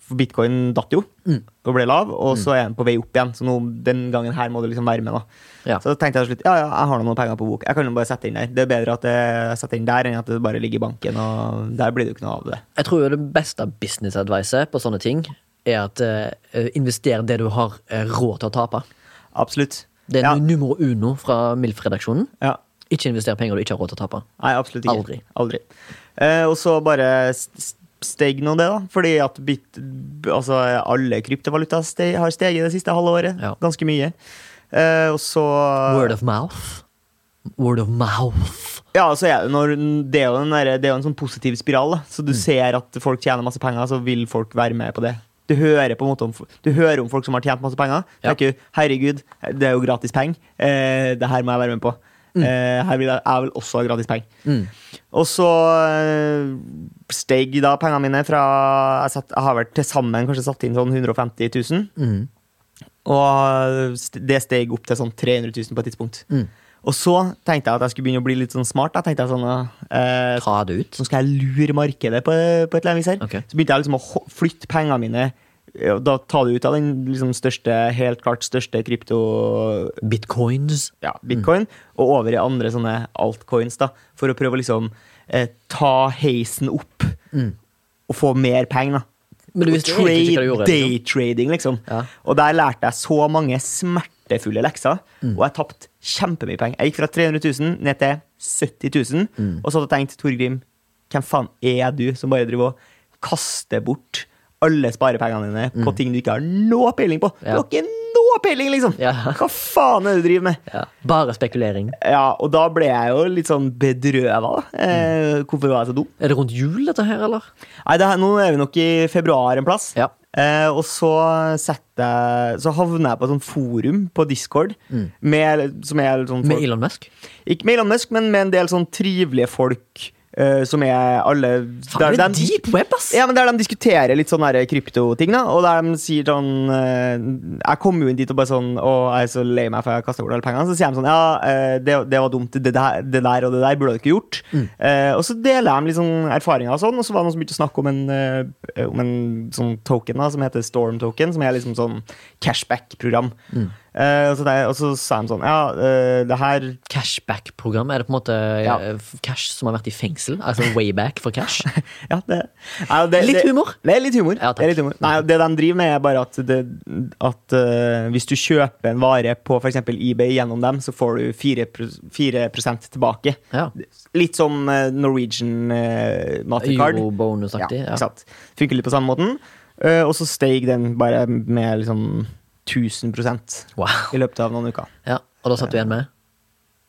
Speaker 2: for Bitcoin datt jo
Speaker 1: Mm.
Speaker 2: og ble lav, og så er den på vei opp igjen. Så nå, den gangen her må du liksom være med, da.
Speaker 1: Ja.
Speaker 2: Så da tenkte jeg til slutt ja, ja, jeg har nå noen penger på bok. Jeg kan jo bare sette inn der. Det er bedre at jeg setter inn der, enn at det bare ligger i banken, og der blir det jo ikke noe av det.
Speaker 1: Jeg tror jo det beste business-adviset på sånne ting er at eh, invester det du har eh, råd til å tape.
Speaker 2: Absolutt.
Speaker 1: Det er
Speaker 2: ja.
Speaker 1: nummer uno fra MILF-redaksjonen.
Speaker 2: ja.
Speaker 1: Ikke invester penger du ikke har råd til å tape.
Speaker 2: Nei, absolutt ikke.
Speaker 1: Aldri.
Speaker 2: Eh, og så bare s- s- steg nå det, da. Fordi at bit, b- altså, alle kryptovaluta ste- har steget det siste halve året.
Speaker 1: Ja.
Speaker 2: Ganske mye. Eh, og så
Speaker 1: Word of mouth. Word of mouth.
Speaker 2: Ja, så er det, når, det, er jo den derre- det er jo en sånn positiv spiral. Da. Så du
Speaker 1: Mm.
Speaker 2: ser at folk tjener masse penger, så vil folk være med på det. Du hører på en måte om, fo- du hører om folk som har tjent masse penger.
Speaker 1: Ja.
Speaker 2: Tenker, du, herregud, det er jo gratis penger. Eh, det her må jeg være med på. Eh, her vil jeg, jeg vil også ha gratis penger.
Speaker 1: Mm.
Speaker 2: Og så eh, steg da pengene mine fra jeg, satt, jeg har vel til sammen kanskje satt inn sånn 150 000.
Speaker 1: Mm.
Speaker 2: Og st- det steg opp til sånn 300 000 på et tidspunkt.
Speaker 1: Mm.
Speaker 2: Og så tenkte jeg at jeg skulle begynne å bli litt sånn smart. Da. tenkte jeg sånn, eh,
Speaker 1: Ta det ut. Sånn
Speaker 2: så skal jeg lure markedet på, på et eller annet vis her.
Speaker 1: Ok.
Speaker 2: Så begynte jeg liksom å ho- flytte pengene mine eh, og da ta det ut av den liksom største, helt klart største krypto,
Speaker 1: Bitcoins.
Speaker 2: ja, bitcoin, og over i andre sånne altcoins, da, for å prøve å liksom eh, ta heisen opp
Speaker 1: Mm.
Speaker 2: og få mer penger, da.
Speaker 1: Men du
Speaker 2: Og
Speaker 1: visste jo egentlig ikke hva du gjorde. Liksom.
Speaker 2: Daytrading, liksom.
Speaker 1: Ja.
Speaker 2: Og der lærte jeg så mange smertefulle lekser,
Speaker 1: Mm.
Speaker 2: og jeg tapte kjempemye penger. Jeg gikk fra 300 000 ned til 70 000,
Speaker 1: Mm.
Speaker 2: og så hadde jeg tenkt, Torgrim, hvem faen er du som bare driver og kaster bort alle sparepengene dine på ting du ikke har noe peiling på? Du
Speaker 1: Mm. Ja.
Speaker 2: har ikke noe peiling, liksom!
Speaker 1: Ja.
Speaker 2: Hva faen er det du driver med?
Speaker 1: Ja. Bare spekulering.
Speaker 2: Ja, og da ble jeg jo litt sånn bedrøva, da. Eh,
Speaker 1: Mm.
Speaker 2: hvorfor var jeg så dum?
Speaker 1: Er det rundt jul, dette her, eller?
Speaker 2: Nei, det her, nå er vi nok i februar en plass.
Speaker 1: Ja.
Speaker 2: Eh, og så, setter jeg, så havner jeg på et sånt forum på Discord. Med, som er litt sånn
Speaker 1: Mm. Med
Speaker 2: folk,
Speaker 1: Elon Musk?
Speaker 2: ikke med Elon Musk, men med en del sånn trivelige folk. eh, som er alle
Speaker 1: Faen, det er
Speaker 2: de-
Speaker 1: deep web, ass!
Speaker 2: ja, men Der de diskuterer litt sånn her kryptoting, da. Og der de sier sånn eh, Jeg kom jo inn dit og bare sånn Å, jeg er så lei meg for jeg kasta bort alle pengene. Så sier de sånn Ja, eh, det, det var dumt. Det der, det der og det der burde dere ikke gjort.
Speaker 1: Mm.
Speaker 2: Eh, og så deler de litt sånn erfaringer og sånn. Og så var det noen som begynte å snakke om en, eh, om en sånn token da, som heter Storm Token, som er liksom sånn cashback-program.
Speaker 1: Mm.
Speaker 2: Eh, og, så det- og så sa de sånn Ja, eh, det her
Speaker 1: Cashback-program? Er det på en måte
Speaker 2: Ja.
Speaker 1: eh, cash som har vært i fengsel? Altså wayback for cash?
Speaker 2: Ja, det, Nei, det,
Speaker 1: Litt
Speaker 2: det-
Speaker 1: humor.
Speaker 2: Det er litt humor.
Speaker 1: Ja, takk.
Speaker 2: det, er litt humor. Nei, det de driver med, er bare at, det, at eh, hvis du kjøper en vare på f.eks. eBay gjennom dem, så får du 4, 4 tilbake.
Speaker 1: Ja.
Speaker 2: Litt som eh, Norwegian uh, Mastercard.
Speaker 1: Euro-bonusaktig. Ja,
Speaker 2: Ja, ikke sant. Funker litt på samme måten. Eh, og så steg den bare med liksom 1000
Speaker 1: Wow.
Speaker 2: i løpet av noen uker.
Speaker 1: Ja, og da satt du igjen med?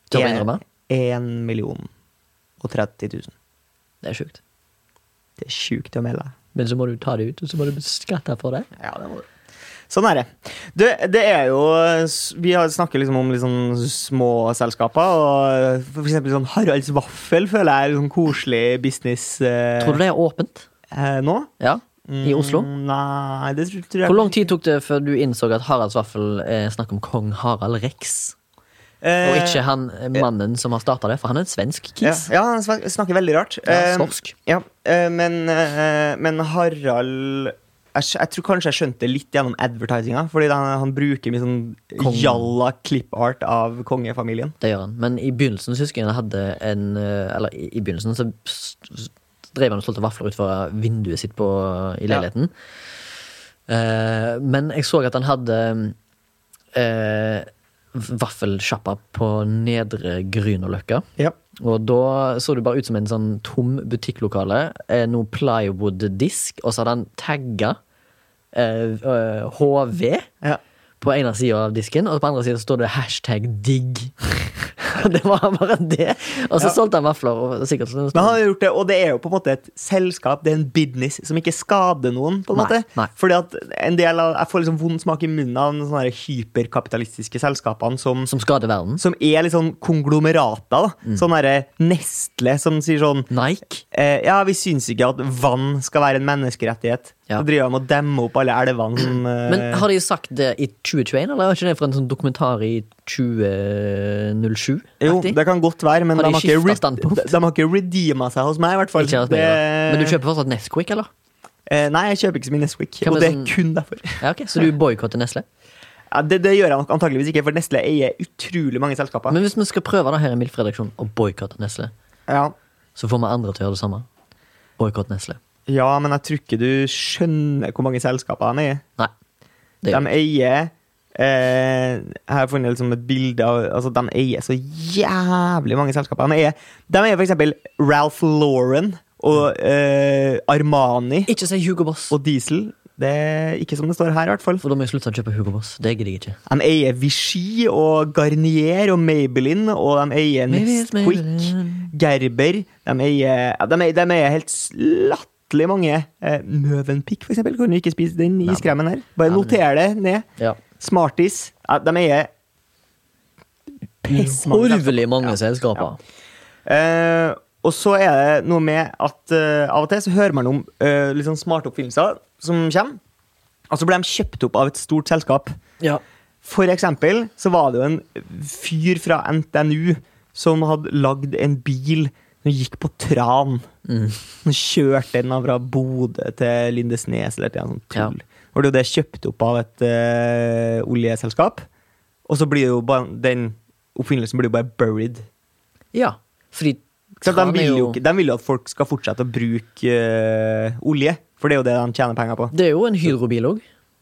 Speaker 1: Tør å
Speaker 2: En-
Speaker 1: innrømme?
Speaker 2: en million og 30 000.
Speaker 1: Det er sjukt.
Speaker 2: Det er sjukt å melde.
Speaker 1: Men så må du ta det ut, og så må du beskatte for det.
Speaker 2: Ja, det må du. Sånn er det. det. Det er jo Vi har snakker liksom om litt sånn små selskaper. Og for eksempel sånn Haralds Vaffel føler jeg er litt sånn koselig business eh,
Speaker 1: Tror du det er åpent?
Speaker 2: eh, nå.
Speaker 1: Ja, i Oslo?
Speaker 2: Mm, Nei, det tror, tror jeg
Speaker 1: Hvor lang tid tok det før du innså at Haralds vaffel er snakk om kong Harald Rex?
Speaker 2: Eh,
Speaker 1: Og ikke han eh, mannen som har starta det, for han er en svensk
Speaker 2: ja,
Speaker 1: kis.
Speaker 2: ja, han snak- snakker veldig rart. Eh,
Speaker 1: Ja, Storsk.
Speaker 2: ja, eh, men, eh, men Harald jeg, skj- jeg tror kanskje jeg skjønte det litt gjennom advertisinga. Fordi han, han bruker mye sånn
Speaker 1: Kong.
Speaker 2: jalla klippart av kongefamilien.
Speaker 1: Det gjør han. Men i begynnelsen så husker jeg han hadde en eh, Eller i i begynnelsen så s- s- drev han og solgte vafler ut fra vinduet sitt på, i
Speaker 2: Ja.
Speaker 1: leiligheten. Eh, men jeg så at han hadde eh, vaffelsjappa på Nedre Grünerløkka.
Speaker 2: Ja.
Speaker 1: Og da så det bare ut som en sånn tom butikklokale. Eh, noe plywood-disk, og så hadde han tagga eh, eh, HV
Speaker 2: Ja.
Speaker 1: på ene sida av disken, og på andre sida står det hashtag digg. Og det var bare det. Og så
Speaker 2: Ja.
Speaker 1: solgte han vafler. Og sikkert sånn-
Speaker 2: Men han har gjort det, og det er jo på en måte et selskap, det er en business som ikke skader noen. på en
Speaker 1: Nei,
Speaker 2: måte.
Speaker 1: nei.
Speaker 2: Fordi at en del av, Jeg får liksom vond smak i munnen av de sånne her hyperkapitalistiske selskapene som,
Speaker 1: Som skader verden.
Speaker 2: som er litt sånn konglomerater. da.
Speaker 1: Mm.
Speaker 2: Sånn derre Nestle som sier sånn
Speaker 1: Nike.
Speaker 2: eh, Ja, vi syns ikke at vann skal være en menneskerettighet.
Speaker 1: Ja.
Speaker 2: Så driver de og demmer opp alle elvene som eh,
Speaker 1: Men har de sagt det i 2021, eller er ikke det fra en sånn dokumentar i 2007?
Speaker 2: Jo,
Speaker 1: -aktig?
Speaker 2: det kan godt være, men
Speaker 1: Har
Speaker 2: de
Speaker 1: de
Speaker 2: har, ikke
Speaker 1: skiftet
Speaker 2: re-
Speaker 1: standpunkt?
Speaker 2: de, de har ikke redeema seg hos meg, i hvert fall.
Speaker 1: Ikke hos meg, da. Men du kjøper fortsatt Nesquik, eller?
Speaker 2: eh, nei, jeg kjøper ikke så mye Nesquik,
Speaker 1: Hvem
Speaker 2: og
Speaker 1: er
Speaker 2: det er
Speaker 1: sånn-
Speaker 2: kun derfor.
Speaker 1: Ja, ok, Så du boikotter Nesle?
Speaker 2: Ja, det, det gjør jeg nok antageligvis ikke, for Nestle eier utrolig mange selskaper.
Speaker 1: Men hvis vi skal prøve da her i Milf-redaksjonen å boikotte Nesle,
Speaker 2: ja.
Speaker 1: så får vi andre til å gjøre det samme. Boikott Nesle.
Speaker 2: ja, men jeg tror ikke du skjønner hvor mange selskaper de eier.
Speaker 1: Nei. Det
Speaker 2: De
Speaker 1: gjør vi.
Speaker 2: eier eh, Jeg har funnet liksom et bilde av altså, De eier så jævlig mange selskaper. De eier, de eier for eksempel Ralph Lauren og eh, Armani
Speaker 1: Ikke si Hugo Boss,
Speaker 2: og Diesel. Det er ikke som det står her, i hvert fall.
Speaker 1: for da må jeg slutte å kjøpe Hugo Boss. Det gidder jeg ikke.
Speaker 2: De eier Vichy og Garnier og Maybelline, og de eier
Speaker 1: Maybe it's
Speaker 2: Nestquick,
Speaker 1: Maybelline.
Speaker 2: Gerber De eier, ja, de eier, de eier helt latterlig mange. Eh, Møvenpick, for eksempel. Kan du ikke spise den i
Speaker 1: Nei.
Speaker 2: skremmen her?
Speaker 1: Nei,
Speaker 2: Bare
Speaker 1: men-
Speaker 2: noter det ned.
Speaker 1: Ja.
Speaker 2: Smarties. Ja, de eier pissmange selskaper.
Speaker 1: Horvelig mange selskaper.
Speaker 2: Eh, og så er det noe med at eh, av og til så hører man om eh, litt sånn smarte oppfinnelser som kommer, og så blir de kjøpt opp av et stort selskap.
Speaker 1: Ja.
Speaker 2: For eksempel så var det jo en fyr fra NTNU som hadde lagd en bil som gikk på tran.
Speaker 1: Mm.
Speaker 2: Han kjørte den fra Bodø til Lindesnes eller et eller annet sånt tull. Og det er jo det kjøpt opp av et eh, oljeselskap. Og så blir jo bare, den oppfinnelsen blir jo bare buried.
Speaker 1: ja. Fordi
Speaker 2: Så de,
Speaker 1: tran er
Speaker 2: vil jo,
Speaker 1: jo-
Speaker 2: ikke- de vil jo at folk skal fortsette å bruke eh, olje, for det er jo det de tjener penger på.
Speaker 1: Det er jo en hydrobil òg,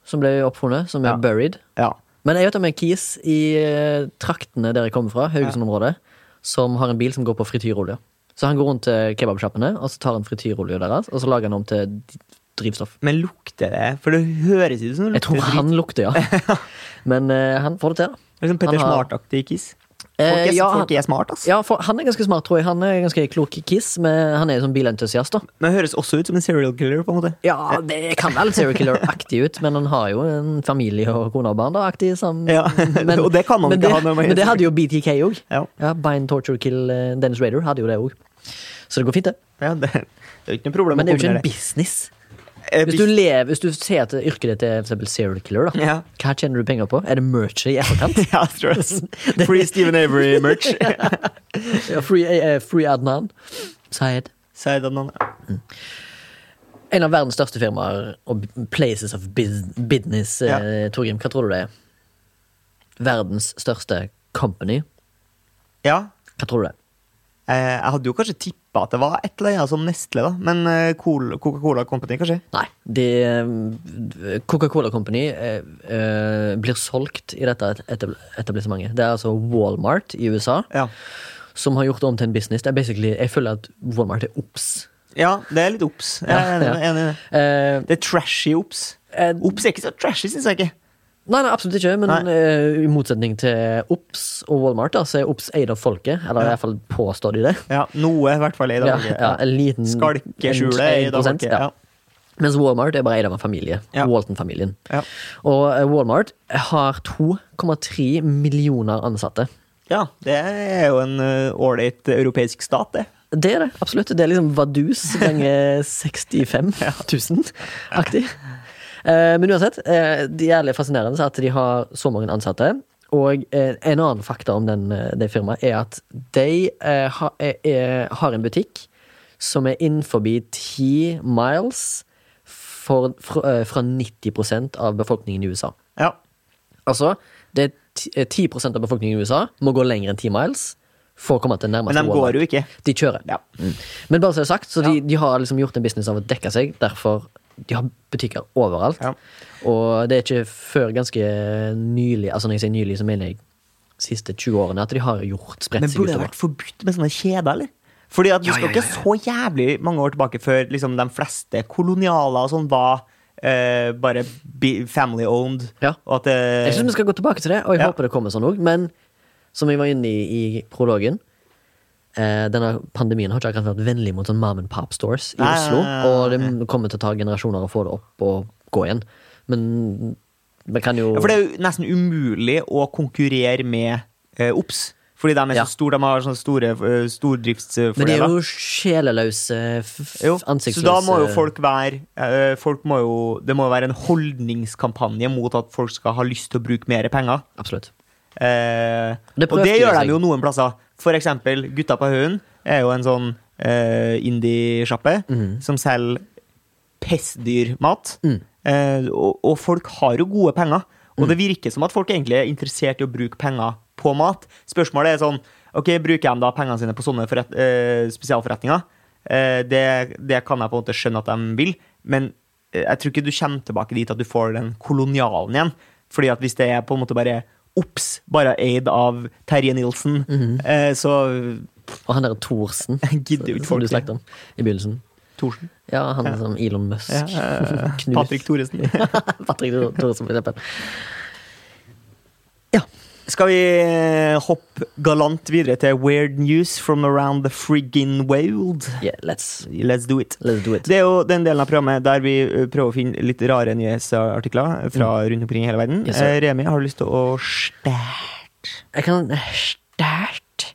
Speaker 1: som ble oppfunnet, som er
Speaker 2: Ja.
Speaker 1: buried.
Speaker 2: Ja.
Speaker 1: Men jeg vet om en kis i eh, traktene der jeg kommer fra, Haugesund-området, som har en bil som går på frityrolje. Så han går rundt til kebabsjappene, og så tar han frityrolja deres, og så lager han om til d- drivstoff.
Speaker 2: Men lukter det For det høres ut som det
Speaker 1: Jeg tror
Speaker 2: lukter
Speaker 1: han lukter, ja. Men eh, han får det til, da.
Speaker 2: Liksom
Speaker 1: Han
Speaker 2: Petter
Speaker 1: har-
Speaker 2: Smart-aktig kiss.
Speaker 1: Eh,
Speaker 2: Folk er,
Speaker 1: ja,
Speaker 2: folk
Speaker 1: han-
Speaker 2: er smart, ass.
Speaker 1: Ja, for han er ganske smart, tror jeg. Han er ganske klok kiss, men han er jo sånn bilentusiast, da.
Speaker 2: Men det høres også ut som en serial killer. på en måte
Speaker 1: Ja, det kan være litt serial killer-aktig ut, men han har jo en familie og kone og barn, da, aktig sammen.
Speaker 2: Ja, og det kan man
Speaker 1: men det,
Speaker 2: ikke ha når man er
Speaker 1: Men det hadde jo BTK òg.
Speaker 2: Ja.
Speaker 1: Ja, Bind, torture, kill eh, Dennis Raider hadde jo det òg. Så det går fint, det.
Speaker 2: Ja, det, det er jo ikke noe problem
Speaker 1: Men det er jo ikke en
Speaker 2: kombinere
Speaker 1: business.
Speaker 2: Eh,
Speaker 1: Hvis du, lever, hvis du ser at yrket ditt er for eksempel serial killer, da.
Speaker 2: Ja.
Speaker 1: hva tjener du penger på? Er det merchet i etterkant?
Speaker 2: Ja, jeg tror det. Free Steven Avery-merch.
Speaker 1: Ja, free, eh, free Adnan? Sayed?
Speaker 2: Sier den andre.
Speaker 1: En av verdens største firmaer og b- places of bus- business, eh,
Speaker 2: Ja.
Speaker 1: Torgrim, hva tror du det er? Verdens største company,
Speaker 2: Ja.
Speaker 1: hva tror du det er?
Speaker 2: eh, Jeg hadde jo kanskje tippa at det var et eller annet som Nestle, da. Men eh, Col- Coca-Cola Company, kanskje?
Speaker 1: Nei, de, eh, Coca-Cola Company eh, eh, blir solgt i dette et- etab- etablissementet. Det er altså Walmart i USA
Speaker 2: Ja.
Speaker 1: som har gjort det om til en business. Det er basically, jeg føler at Walmart er obs.
Speaker 2: ja det er litt obs. Jeg
Speaker 1: Ja,
Speaker 2: er enig
Speaker 1: ja.
Speaker 2: i det, enig i det.
Speaker 1: Eh,
Speaker 2: Det er trashy obs.
Speaker 1: eh,
Speaker 2: Obs er ikke så trashy, syns jeg ikke.
Speaker 1: Nei, nei, absolutt ikke, men
Speaker 2: Nei.
Speaker 1: eh, i motsetning til Ops og Walmart, da, så er Ops eid av folket. Eller i hvert fall påstår de det.
Speaker 2: Ja, Noe, i hvert fall. i
Speaker 1: Ja,
Speaker 2: dag.
Speaker 1: ja, en liten
Speaker 2: Skalkeskjulet
Speaker 1: en-
Speaker 2: i
Speaker 1: 1%,
Speaker 2: dag. ok,
Speaker 1: ja.
Speaker 2: Ja.
Speaker 1: Mens Walmart er bare eid av en familie.
Speaker 2: Ja.
Speaker 1: Walton-familien.
Speaker 2: Ja.
Speaker 1: Og eh, Walmart har 2,3 millioner ansatte.
Speaker 2: ja, det er jo en eh, ålreit europeisk stat, det.
Speaker 1: Det er det, absolutt. Det er liksom vadus ganger 65 000-aktig. Men uansett, eh, det er jævlig fascinerende at de har så mange ansatte. Og eh, en annen fakta om den, eh, det firmaet er at de eh, ha, er, er, har en butikk som er innenfor 10 miles for, fra, eh, fra 90 av befolkningen i USA.
Speaker 2: Ja.
Speaker 1: Altså, det er ti- eh, 10 av befolkningen i USA må gå lenger enn 10 miles for å komme til nærmeste
Speaker 2: Men de går jo ikke.
Speaker 1: de kjører.
Speaker 2: Ja.
Speaker 1: Mm. Men bare så det er sagt, så de,
Speaker 2: Ja.
Speaker 1: de har liksom gjort en business av å dekke seg. Derfor de har butikker overalt.
Speaker 2: Ja.
Speaker 1: Og det er ikke før ganske nylig, altså når jeg sier nylig, så mener jeg siste 20 årene, at de har gjort spredt
Speaker 2: Men
Speaker 1: seg
Speaker 2: burde det
Speaker 1: utover.
Speaker 2: vært forbudt med sånne kjeder, eller? Fordi at Du
Speaker 1: Ja,
Speaker 2: skal
Speaker 1: ja,
Speaker 2: ikke så jævlig mange år tilbake før liksom, de fleste kolonialer og sånn var eh, bare bi- family owned.
Speaker 1: Ja.
Speaker 2: Og at eh,
Speaker 1: Jeg syns vi skal gå tilbake til det, og jeg
Speaker 2: Ja.
Speaker 1: håper det kommer sånn òg. Men som vi var inne i i prologen eh, Denne pandemien har ikke akkurat vært vennlig mot sånn mom and pop stores i
Speaker 2: Nei,
Speaker 1: Oslo.
Speaker 2: nei, nei,
Speaker 1: Og det kommer til å ta generasjoner å få det opp og gå igjen. Men vi kan jo
Speaker 2: ja, For det er jo nesten umulig å konkurrere med eh, OBS. Fordi de er
Speaker 1: Ja.
Speaker 2: så store, de har sånne store eh,
Speaker 1: Men de er
Speaker 2: stordriftsfordeler.
Speaker 1: jo sjeleløse, f- f-
Speaker 2: Jo,
Speaker 1: ansiktsløse
Speaker 2: Så da må jo folk være eh, folk må jo, Det må jo være en holdningskampanje mot at folk skal ha lyst til å bruke mer penger.
Speaker 1: Absolutt.
Speaker 2: Eh,
Speaker 1: Det
Speaker 2: og det
Speaker 1: prøvde
Speaker 2: gjør
Speaker 1: de seg.
Speaker 2: de jo noen plasser. For eksempel Gutta på haugen er jo en sånn eh, indie-sjappe som selger pestdyrmat.
Speaker 1: Mhm. Mm.
Speaker 2: Eh, og, og folk har jo gode penger. Og det virker som at folk egentlig er interessert i å bruke penger på mat. Spørsmålet er sånn Ok, bruker de da pengene sine på sånne forret, eh, spesialforretninger? Eh, det, det kan jeg på en måte skjønne at de vil, men eh, jeg tror ikke du kommer tilbake dit at du får den kolonialen igjen. Fordi at hvis det er på en måte bare Ops, bare eid av Terje Nilsen, eh, så
Speaker 1: Og han der Thorsen,
Speaker 2: Jeg gidder jo ikke
Speaker 1: som du
Speaker 2: folk.
Speaker 1: snakket om i begynnelsen.
Speaker 2: Thorsen.
Speaker 1: Ja, han som Elon Musk.
Speaker 2: Ja, eh,
Speaker 1: Knut.
Speaker 2: Patrick Thoresen.
Speaker 1: Patrick Thorsen, for eksempel.
Speaker 2: Skal vi eh, hoppe galant videre til weird news from around the friggin' world?
Speaker 1: Yeah, let's,
Speaker 2: Let's do it.
Speaker 1: let's do it.
Speaker 2: Det er jo den delen av programmet der vi eh, prøver å finne litt rare nyhetsartikler fra rundt omkring i hele verden.
Speaker 1: Yes, sir.
Speaker 2: Eh, Remi, har du lyst til å stært?
Speaker 1: Jeg kan Stært.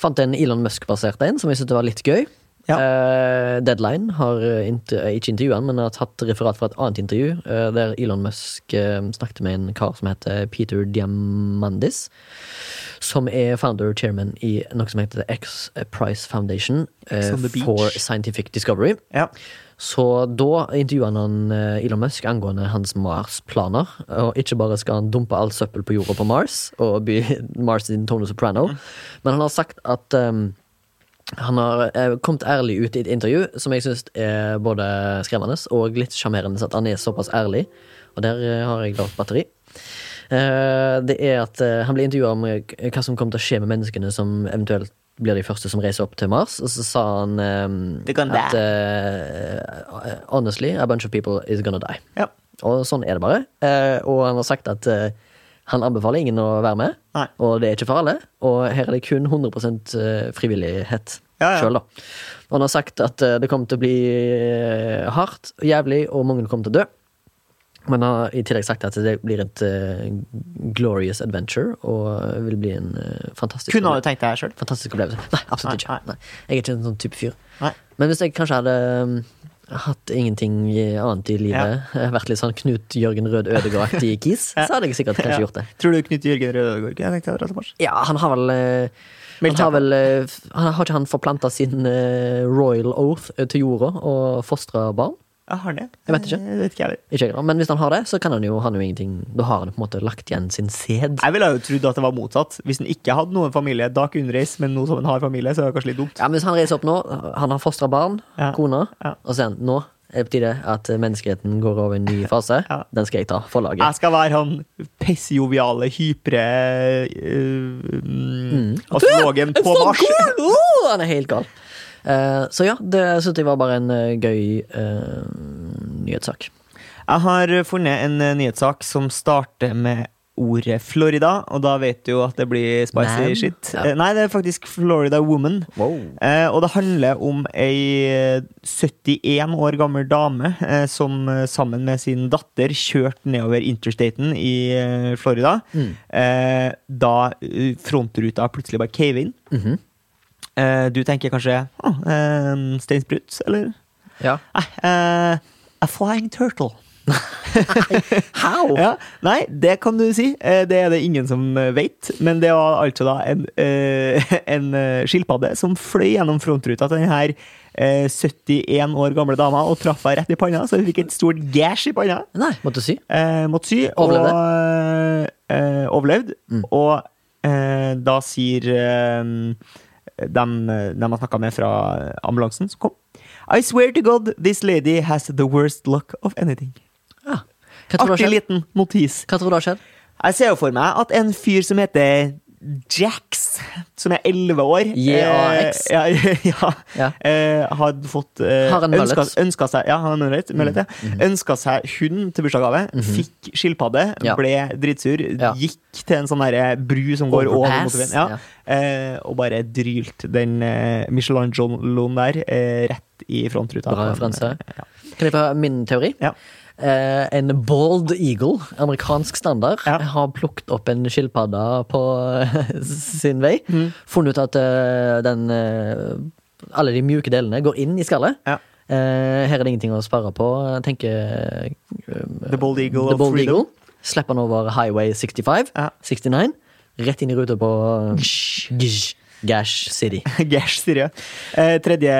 Speaker 1: Fant en Elon Musk-basert en som jeg syntes var litt gøy.
Speaker 2: Ja.
Speaker 1: Eh, Deadline har eh, inter eh, ikke intervjua han, men har tatt referat fra et annet intervju eh, der Elon Musk eh, snakket med en kar som heter Peter Diamandis. Som er founder og chairman i noe som heter The X Prize Foundation eh,
Speaker 2: X on the beach.
Speaker 1: for Scientific Discovery.
Speaker 2: Ja.
Speaker 1: Så da intervjuet han eh, Elon Musk angående hans Mars-planer. Og ikke bare skal han dumpe all søppel på jorda på Mars, og by Mars sin Tony Soprano, men han har sagt at eh, han har eh, kommet ærlig ut i et intervju som jeg syns er både skremmende og litt sjarmerende. så At han er såpass ærlig, og der eh, har jeg lavt batteri. Eh, det er at eh, Han ble intervjua om eh, hva som kommer til å skje med menneskene som eventuelt blir de første som reiser opp til Mars, og så sa han eh,
Speaker 2: Det kan
Speaker 1: at eh, Honestly, a bunch of people is gonna die.
Speaker 2: ja.
Speaker 1: Og sånn er det bare. Eh, og han har sagt at eh, han anbefaler ingen å være med.
Speaker 2: Nei.
Speaker 1: Og det er ikke for alle. Og her er det kun 100 eh, frivillighet
Speaker 2: Ja, ja.
Speaker 1: sjøl, da. Og han har sagt at eh, det kommer til å bli eh, hardt og jævlig, og mange kommer til å dø. Men han har i tillegg sagt at det blir et eh, glorious adventure, og vil bli en eh, fantastisk
Speaker 2: Kunne du tenkt deg sjøl?
Speaker 1: fantastisk opplevelse. Nei, absolutt
Speaker 2: Nei,
Speaker 1: ikke. Nei. Jeg er ikke en sånn type fyr.
Speaker 2: Nei.
Speaker 1: Men hvis jeg kanskje hadde um, hatt ingenting annet i livet, vært litt sånn Knut Jørgen Rød Ødegård-aktig kis, så hadde jeg sikkert kanskje gjort det.
Speaker 2: Tror du Knut Jørgen Rødegård kunne tenkt deg å dra til Mars?
Speaker 1: Ja, han har vel eh, Han
Speaker 2: Meldt seg
Speaker 1: har
Speaker 2: på.
Speaker 1: vel eh, f- han, Har ikke han forplanta sin eh, royal oath eh, til jorda og fostra barn?
Speaker 2: Ja, har han det?
Speaker 1: Jeg vet ikke.
Speaker 2: Jeg vet ikke heller.
Speaker 1: Ikke jeg, da. Men hvis han har det, så kan han jo, han jo ingenting Da har han på en måte lagt igjen sin sæd.
Speaker 2: Jeg ville jo trodd at det var motsatt. Hvis han ikke hadde noen familie, da kunne han reise, men nå som han har familie, så er det kanskje litt dumt.
Speaker 1: Ja, men hvis han reiser opp nå, han har fostra barn,
Speaker 2: Ja.
Speaker 1: kona,
Speaker 2: Ja.
Speaker 1: og så er han nå er det på tide at menneskeheten går over i en ny fase.
Speaker 2: Ja. Altså,
Speaker 1: Den skal jeg ta for laget.
Speaker 2: Jeg skal være han pissjoviale, hypre øh, mm. astrologen på
Speaker 1: Så
Speaker 2: Mars.
Speaker 1: cool! Oh, han er helt gal. Eh, så ja, det syntes jeg var bare en eh, gøy eh, nyhetssak.
Speaker 2: Jeg har funnet en eh, nyhetssak som starter med ordet Florida, og da vet du jo at det blir spicy
Speaker 1: Man?
Speaker 2: shit.
Speaker 1: Ja.
Speaker 2: Eh, Nei, det er faktisk Florida Woman.
Speaker 1: Wow.
Speaker 2: Eh, og det handler om ei eh, 71 år gammel dame eh, som eh, sammen med sin datter kjørte nedover interstaten i eh, Florida.
Speaker 1: Mm.
Speaker 2: Eh, da eh, frontruta plutselig bare cave inn.
Speaker 1: Mhm.
Speaker 2: Eh, du tenker kanskje oh, eh, steinsprut, eller?
Speaker 1: Ja.
Speaker 2: Nei, eh, a flying turtle.
Speaker 1: How?
Speaker 2: Ja, nei, det kan du si. Eh, Det er det ingen som eh, vet. Men det var altså da en, eh, en eh, skilpadde som fløy gjennom frontruta til denne eh, 71 år gamle dama og traff henne rett i panna, så hun fikk et stort gash i panna.
Speaker 1: Nei, måtte du si.
Speaker 2: Eh, måtte sy og eh, overlevd. Og eh, da sier eh, dem, dem jeg snakka med fra ambulansen, som kom I swear to God, this lady has the worst luck of anything.
Speaker 1: Ja. Hva tror du har
Speaker 2: Artig
Speaker 1: skjedd?
Speaker 2: liten notis.
Speaker 1: Hva tror du har skjedd?
Speaker 2: Jeg ser jo for meg at en fyr som heter Jax, som er 11 år
Speaker 1: J-A-X.
Speaker 2: eh, ja, ja,
Speaker 1: Ja.
Speaker 2: eh, Hadde fått eh,
Speaker 1: Har en mullet. Mm. Mm-hmm.
Speaker 2: ønska, ønska seg Ja, har en mullet, mullet, ja. Ønska seg hund til bursdagsgave. Fikk skilpadde,
Speaker 1: Ja.
Speaker 2: ble dritsur.
Speaker 1: Ja.
Speaker 2: Gikk til en sånn derre bru som går over
Speaker 1: Overpass,
Speaker 2: motorveien. Ja. Eh, og bare drylte den eh, Michelangelo-en der eh, rett i frontruta.
Speaker 1: Bra
Speaker 2: på en-
Speaker 1: referanse.
Speaker 2: Ja.
Speaker 1: Kan jeg få min teori?
Speaker 2: Ja.
Speaker 1: Eh, en bald eagle, amerikansk standard,
Speaker 2: Ja.
Speaker 1: har plukket opp en skilpadde på eh, sin vei.
Speaker 2: Mm.
Speaker 1: Funnet ut at eh, den eh, Alle de mjuke delene går inn i skallet.
Speaker 2: Ja.
Speaker 1: Eh, her er det ingenting å spare på, tenker eh,
Speaker 2: The Bald Eagle
Speaker 1: The
Speaker 2: of
Speaker 1: Bald
Speaker 2: Freedom.
Speaker 1: Eagle. Slipper han over Highway 65,
Speaker 2: Ja.
Speaker 1: 69, rett inn i ruta på Gsh, Gash City.
Speaker 2: Gash, sier jeg. Eh, tredje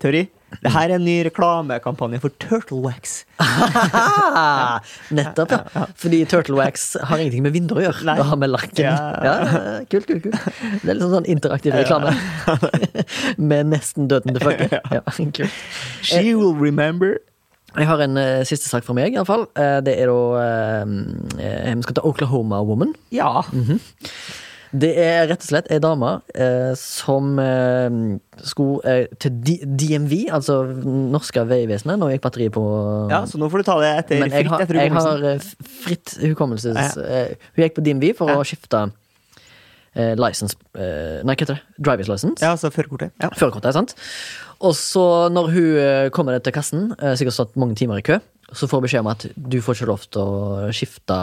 Speaker 2: teori. Det her er en ny reklamekampanje for Turtle Wax.
Speaker 1: Ah, Nettopp, ja. Fordi Turtle Wax har ingenting med vinduer å gjøre.
Speaker 2: Nei.
Speaker 1: Det har med lakken.
Speaker 2: Ja.
Speaker 1: Ja, kult, kult, kult. Det er litt sånn, sånn interaktiv reklame. med nesten døden til fucker. Ja, kult.
Speaker 2: She
Speaker 1: Eh,
Speaker 2: will remember.
Speaker 1: Jeg har en eh, siste sak fra meg, iallfall. Uh, det er da eh, eh, Vi skal ta Oklahoma Woman.
Speaker 2: Ja.
Speaker 1: Mm. Det er rett og slett ei dame eh, som eh, skulle eh, til D DMV, altså norske veivesenet. Nå gikk batteriet på
Speaker 2: ja, Så nå får du ta det etter
Speaker 1: Men jeg
Speaker 2: fritt
Speaker 1: har,
Speaker 2: etter
Speaker 1: jeg
Speaker 2: hukommelsen.
Speaker 1: har eh, f- fritt hukommelses...
Speaker 2: Ja.
Speaker 1: eh, Hun gikk på DMV for
Speaker 2: Ja.
Speaker 1: å skifte eh, license eh, Nei, hva heter det? Drivers license.
Speaker 2: Ja, så førerkortet. Ja.
Speaker 1: Førerkortet, sant? Og så, når hun eh, kommer ned til kassen, eh, sikkert stått mange timer i kø, så får hun beskjed om at du får ikke lov til å skifte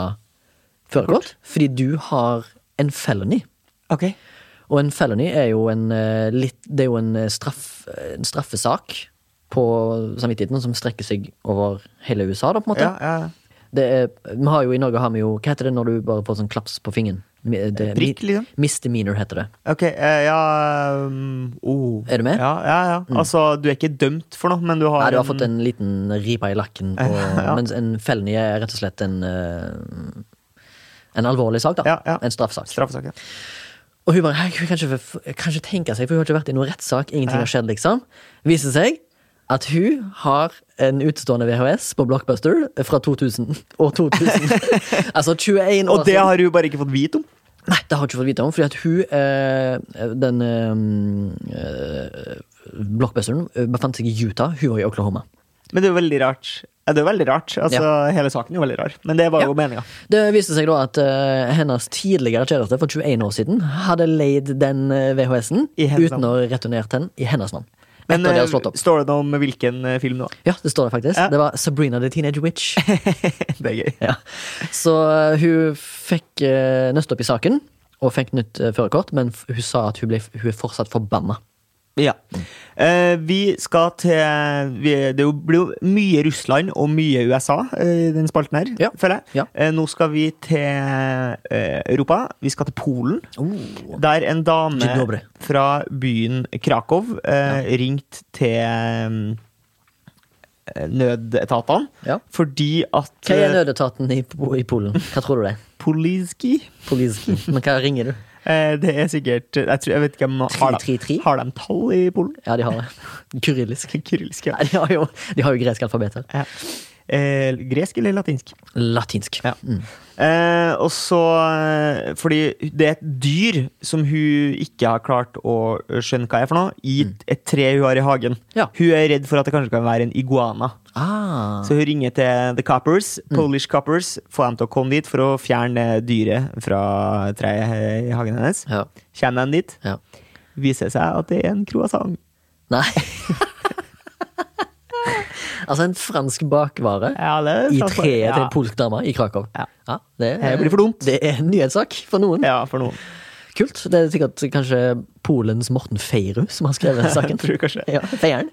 Speaker 1: førerkort fordi du har en felony.
Speaker 2: Ok.
Speaker 1: Og en felony er jo en, eh, litt, det er jo en, eh, straff, en straffesak på samvittigheten som strekker seg over hele USA, da, på en måte.
Speaker 2: Ja, ja.
Speaker 1: Det er, vi har jo, I Norge har vi jo Hva heter det når du bare får sånn klaps på fingeren? Mi- Det,
Speaker 2: Prikk, liksom?
Speaker 1: Misdemeanor heter det.
Speaker 2: Ok, eh, ja um, oh.
Speaker 1: Er du med? Mm.
Speaker 2: Ja, ja, ja. Altså, du er ikke dømt for noe, men du har,
Speaker 1: Nei, du har fått en liten ripe i lakken, på,
Speaker 2: Ja.
Speaker 1: mens en felony er rett og slett en eh, En alvorlig sak, da.
Speaker 2: Ja, ja.
Speaker 1: En straffesak.
Speaker 2: straffesak. ja.
Speaker 1: Og hun bare «Hei, hun kan ikke, for- kan ikke tenke seg, for hun har ikke vært i noen rettssak. Ingenting har skjedd, liksom. Viser seg at hun har en utestående VHS på Blockbuster fra 2000 og 2000. altså 21 år
Speaker 2: Og det
Speaker 1: siden.
Speaker 2: har hun bare ikke fått vite om.
Speaker 1: Nei, det har jeg ikke fått vite om, fordi at hun, eh, den eh, eh, blockbusteren, eh, befant seg i Utah, hun var i Oklahoma.
Speaker 2: Men det er jo veldig rart. Ja, det er jo veldig rart. Altså, Hele saken er jo veldig rar. Men det var jo meninga.
Speaker 1: Det viste seg da at eh, hennes tidligere kjæreste for 21 år siden hadde leid den eh, VHS-en
Speaker 2: I hennes
Speaker 1: uten å returnert den i hennes navn.
Speaker 2: Men
Speaker 1: Etter det har
Speaker 2: eh,
Speaker 1: slått opp.
Speaker 2: står det noe om hvilken eh, film nå?
Speaker 1: Ja, det står det faktisk.
Speaker 2: Ja.
Speaker 1: Det var Sabrina the Teenage Witch.
Speaker 2: det er gøy.
Speaker 1: Ja. Så eh, hun fikk uh, nøst opp i saken og fikk nytt eh, førerkort, men f- hun sa at hun, ble, hun er fortsatt forbanna.
Speaker 2: Ja. Eh, vi skal til vi, Det jo- blir jo mye Russland og mye USA eh, i den spalten her,
Speaker 1: Ja.
Speaker 2: føler jeg.
Speaker 1: Ja.
Speaker 2: Eh, nå skal vi til eh, Europa. Vi skal til Polen. Oh. Der en dame
Speaker 1: Dzień dobry.
Speaker 2: fra byen Krakow eh, ringte til eh, nødetatene
Speaker 1: Ja.
Speaker 2: fordi at
Speaker 1: Hva er
Speaker 2: eh,
Speaker 1: nødetaten i, i Polen? Hva tror du det er?
Speaker 2: Poliski
Speaker 1: Polisen. Men hva ringer du?
Speaker 2: eh, Det er sikkert jeg, tror, jeg vet ikke om har de,
Speaker 1: 333?
Speaker 2: har de tall i Polen?
Speaker 1: Ja, de har det. Kyrillisk.
Speaker 2: Kyrillisk, ja.
Speaker 1: Nei, de har jo, de har jo gresk alfabet her.
Speaker 2: ja. Eh, gresk eller latinsk?
Speaker 1: Latinsk.
Speaker 2: Ja. Eh, og så eh, Fordi det er et dyr som hun ikke har klart å skjønne hva er for noe, i et- et tre hun har i hagen.
Speaker 1: Ja.
Speaker 2: Hun er redd for at det kanskje kan være en iguana.
Speaker 1: Ah.
Speaker 2: Så hun ringer til The Coppers, Polish Coppers, får dem til å komme dit for å fjerne dyret fra treet i hagen hennes.
Speaker 1: Ja.
Speaker 2: Kommer de dit,
Speaker 1: ja.
Speaker 2: viser det seg at det er en croissant.
Speaker 1: Nei. altså en fransk bakvare
Speaker 2: Ja, det er
Speaker 1: i
Speaker 2: sant.
Speaker 1: treet til
Speaker 2: Ja.
Speaker 1: en polsk dame i Krakow.
Speaker 2: Ja.
Speaker 1: det,
Speaker 2: Det blir for dumt.
Speaker 1: Det er en nyhetssak for noen.
Speaker 2: Ja, for noen.
Speaker 1: Kult. Det er sikkert kanskje Polens Morten Feirud som har skrevet den saken.
Speaker 2: Jeg tror kanskje.
Speaker 1: Ja, Feieren.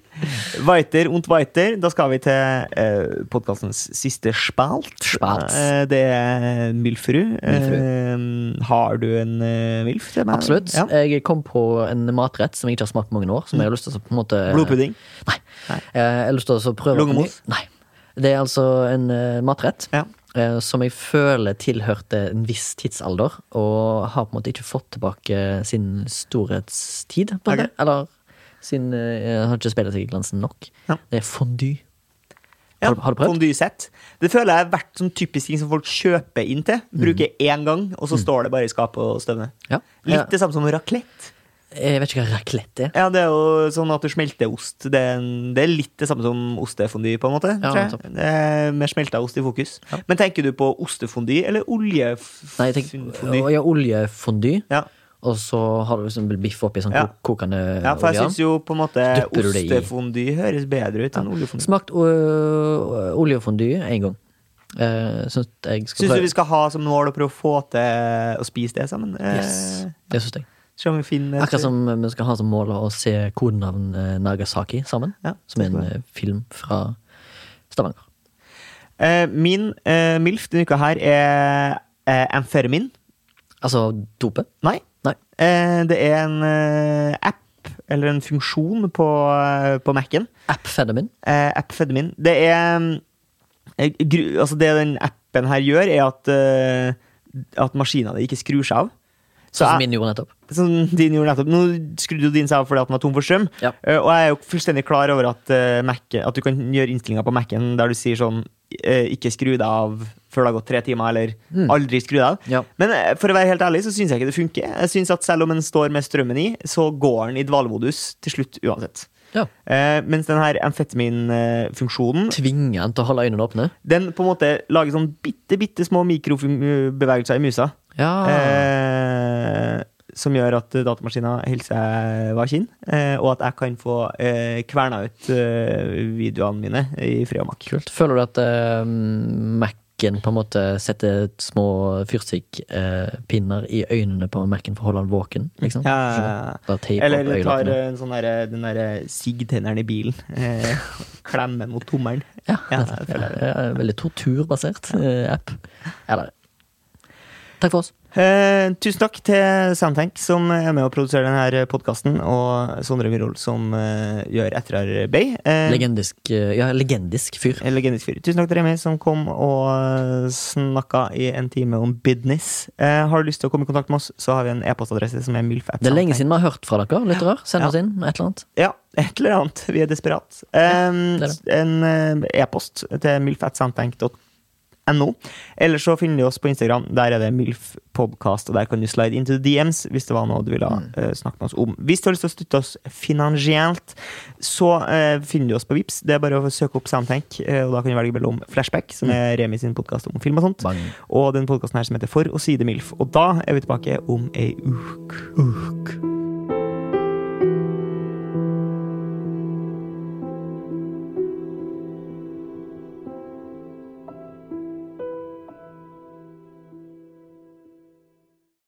Speaker 2: Weiter und weiter. Da skal vi til eh, podkastens siste spalt.
Speaker 1: Spalt.
Speaker 2: Eh, det er Milfrud. Eh, har du en eh, Milf til meg?
Speaker 1: Absolutt. Eh,
Speaker 2: Ja.
Speaker 1: Jeg kom på en matrett som jeg ikke har smakt på mange år. Som jeg har lyst til å på en måte
Speaker 2: Blodpudding.
Speaker 1: Nei. Eh, Jeg har lyst til å prøve
Speaker 2: Lungemos?
Speaker 1: Nei. Det er altså en eh, matrett
Speaker 2: Ja.
Speaker 1: eh, som jeg føler tilhørte en viss tidsalder, og har på en måte ikke fått tilbake sin storhetstid. På en
Speaker 2: Ok.
Speaker 1: måte. Eller sin eh, Har ikke speilet seg i glansen nok.
Speaker 2: Ja.
Speaker 1: Det er fondue.
Speaker 2: Ja,
Speaker 1: Har du- har du prøvd?
Speaker 2: Fondue-sett. Det føler jeg har vært sånn typisk ting som folk kjøper inn til. Bruker én gang, og så står det bare i skapet og støvner.
Speaker 1: Mhm. Ja. Ja. Eh,
Speaker 2: Litt det samme som raclette.
Speaker 1: Jeg vet ikke hva raclette er.
Speaker 2: Ja, det er jo sånn at du smelter ost. Det er, en, det er litt det samme som ostefondy, på en måte.
Speaker 1: Ja,
Speaker 2: tror jeg.
Speaker 1: nettopp.
Speaker 2: Det er Med smelta ost i fokus. Men tenker du på ostefondy eller
Speaker 1: Nei, jeg tenker,
Speaker 2: oljefondy?
Speaker 1: å, ja, oljefondue.
Speaker 2: Ja.
Speaker 1: Og så har du liksom biff oppi sånn
Speaker 2: Ja.
Speaker 1: ko- kokende
Speaker 2: ja, for jeg syns jo på en måte
Speaker 1: Dypper du det i?
Speaker 2: ostefondy høres bedre ut enn oljefondy.
Speaker 1: Smakt øh, oljefondue én gang. Uh, syns jeg skal
Speaker 2: Syns du
Speaker 1: prøve.
Speaker 2: vi skal ha som mål å prøve å få til å spise det sammen? Eh,
Speaker 1: Yes, det syns jeg.
Speaker 2: Se om vi finner et-
Speaker 1: Akkurat sånn. som vi skal ha som mål å se kodenavn eh, Nagasaki sammen.
Speaker 2: Ja,
Speaker 1: som er en
Speaker 2: det skal
Speaker 1: eh, film fra Stavanger.
Speaker 2: Eh, Min eh, MILF denne uka her er eh, amfetamin.
Speaker 1: Altså dope.
Speaker 2: Nei.
Speaker 1: Nei.
Speaker 2: Eh, det er en eh, app, eller en funksjon, på, eh, på Mac-en.
Speaker 1: Appfedamin.
Speaker 2: Eh, appfedamin. Det er mm, eh, gru, Altså, det den appen her gjør, er at, eh, at maskina di ikke skrur seg av. Så
Speaker 1: Sånn som
Speaker 2: jeg-
Speaker 1: min gjorde nettopp.
Speaker 2: som din gjorde nettopp. Nå skrudde jo din seg av fordi at den var tom for strøm.
Speaker 1: Ja.
Speaker 2: Eh, og jeg er jo fullstendig klar over at, eh, Mac, at du kan gjøre innstillinger på Mac-en der du sier sånn eh, ikke skru deg av før det har gått tre timer, eller aldri skru deg av.
Speaker 1: Hmm. Ja.
Speaker 2: Men eh, for å være helt ærlig, så syns jeg ikke det funker. Jeg synes at Selv om den står med strømmen i, så går den i dvalemodus til slutt uansett.
Speaker 1: Ja.
Speaker 2: Eh, mens den her amfetaminfunksjonen
Speaker 1: Tvinge han til å holde øynene åpne.
Speaker 2: den på en måte lager sånn bitte, bitte små mikrobevegelser i musa.
Speaker 1: Ja.
Speaker 2: Eh, som gjør at datamaskina hilser jeg var kinn, eh, og at jeg kan få eh, kverna ut eh, videoene mine i fred og mak.
Speaker 1: Kult. Føler du at eh, Mac-en på en måte setter små fyrstikkpinner i øynene på Mac-en for å holde han våken? Liksom?
Speaker 2: Ja.
Speaker 1: Da teiper
Speaker 2: Eller
Speaker 1: opp
Speaker 2: du tar
Speaker 1: øyelokkene.
Speaker 2: eh, en sånn derre- den derre sigg-tenneren i bilen. Eh, klemme mot tommelen.
Speaker 1: Ja,
Speaker 2: Ja,
Speaker 1: nettopp.
Speaker 2: jeg føler det.
Speaker 1: Ja, ja, veldig torturbasert eh, app. Ja, det er det. Takk for oss.
Speaker 2: Eh, tusen takk til Soundtank, som er med å produsere denne podkasten, og Sondre Myhrvold, som eh, gjør etterarbeid. Eh,
Speaker 1: Legendisk, eh, ja, legendisk fyr.
Speaker 2: Legendisk fyr. Tusen takk til Remi som kom og eh, snakka i en time om business. Eh, har du lyst til å komme i kontakt med oss, så har vi en e-postadresse som er milfapp.
Speaker 1: Det er lenge siden vi har hørt fra dere, lyttere. Send oss inn et eller annet.
Speaker 2: Ja, et eller annet. Vi er desperat. Um,
Speaker 1: det er det.
Speaker 2: En eh, e-post til milfatsoundtank.no. Eller så finner du oss på Instagram. Der er det milfpodcast, og der kan du slide into the DMs hvis det var noe du ville
Speaker 1: Mm.
Speaker 2: eh, snakke med oss om. Hvis du har lyst til å støtte oss finansielt, så eh, finner du oss på Vips. Det er bare å søke opp Soundtank, eh, og da kan du velge mellom Flashback,
Speaker 1: Mm.
Speaker 2: som er Remi sin podkast om film og sånt,
Speaker 1: Bang.
Speaker 2: og den podkasten her som heter For og side milf. Og da er vi tilbake om ei uke.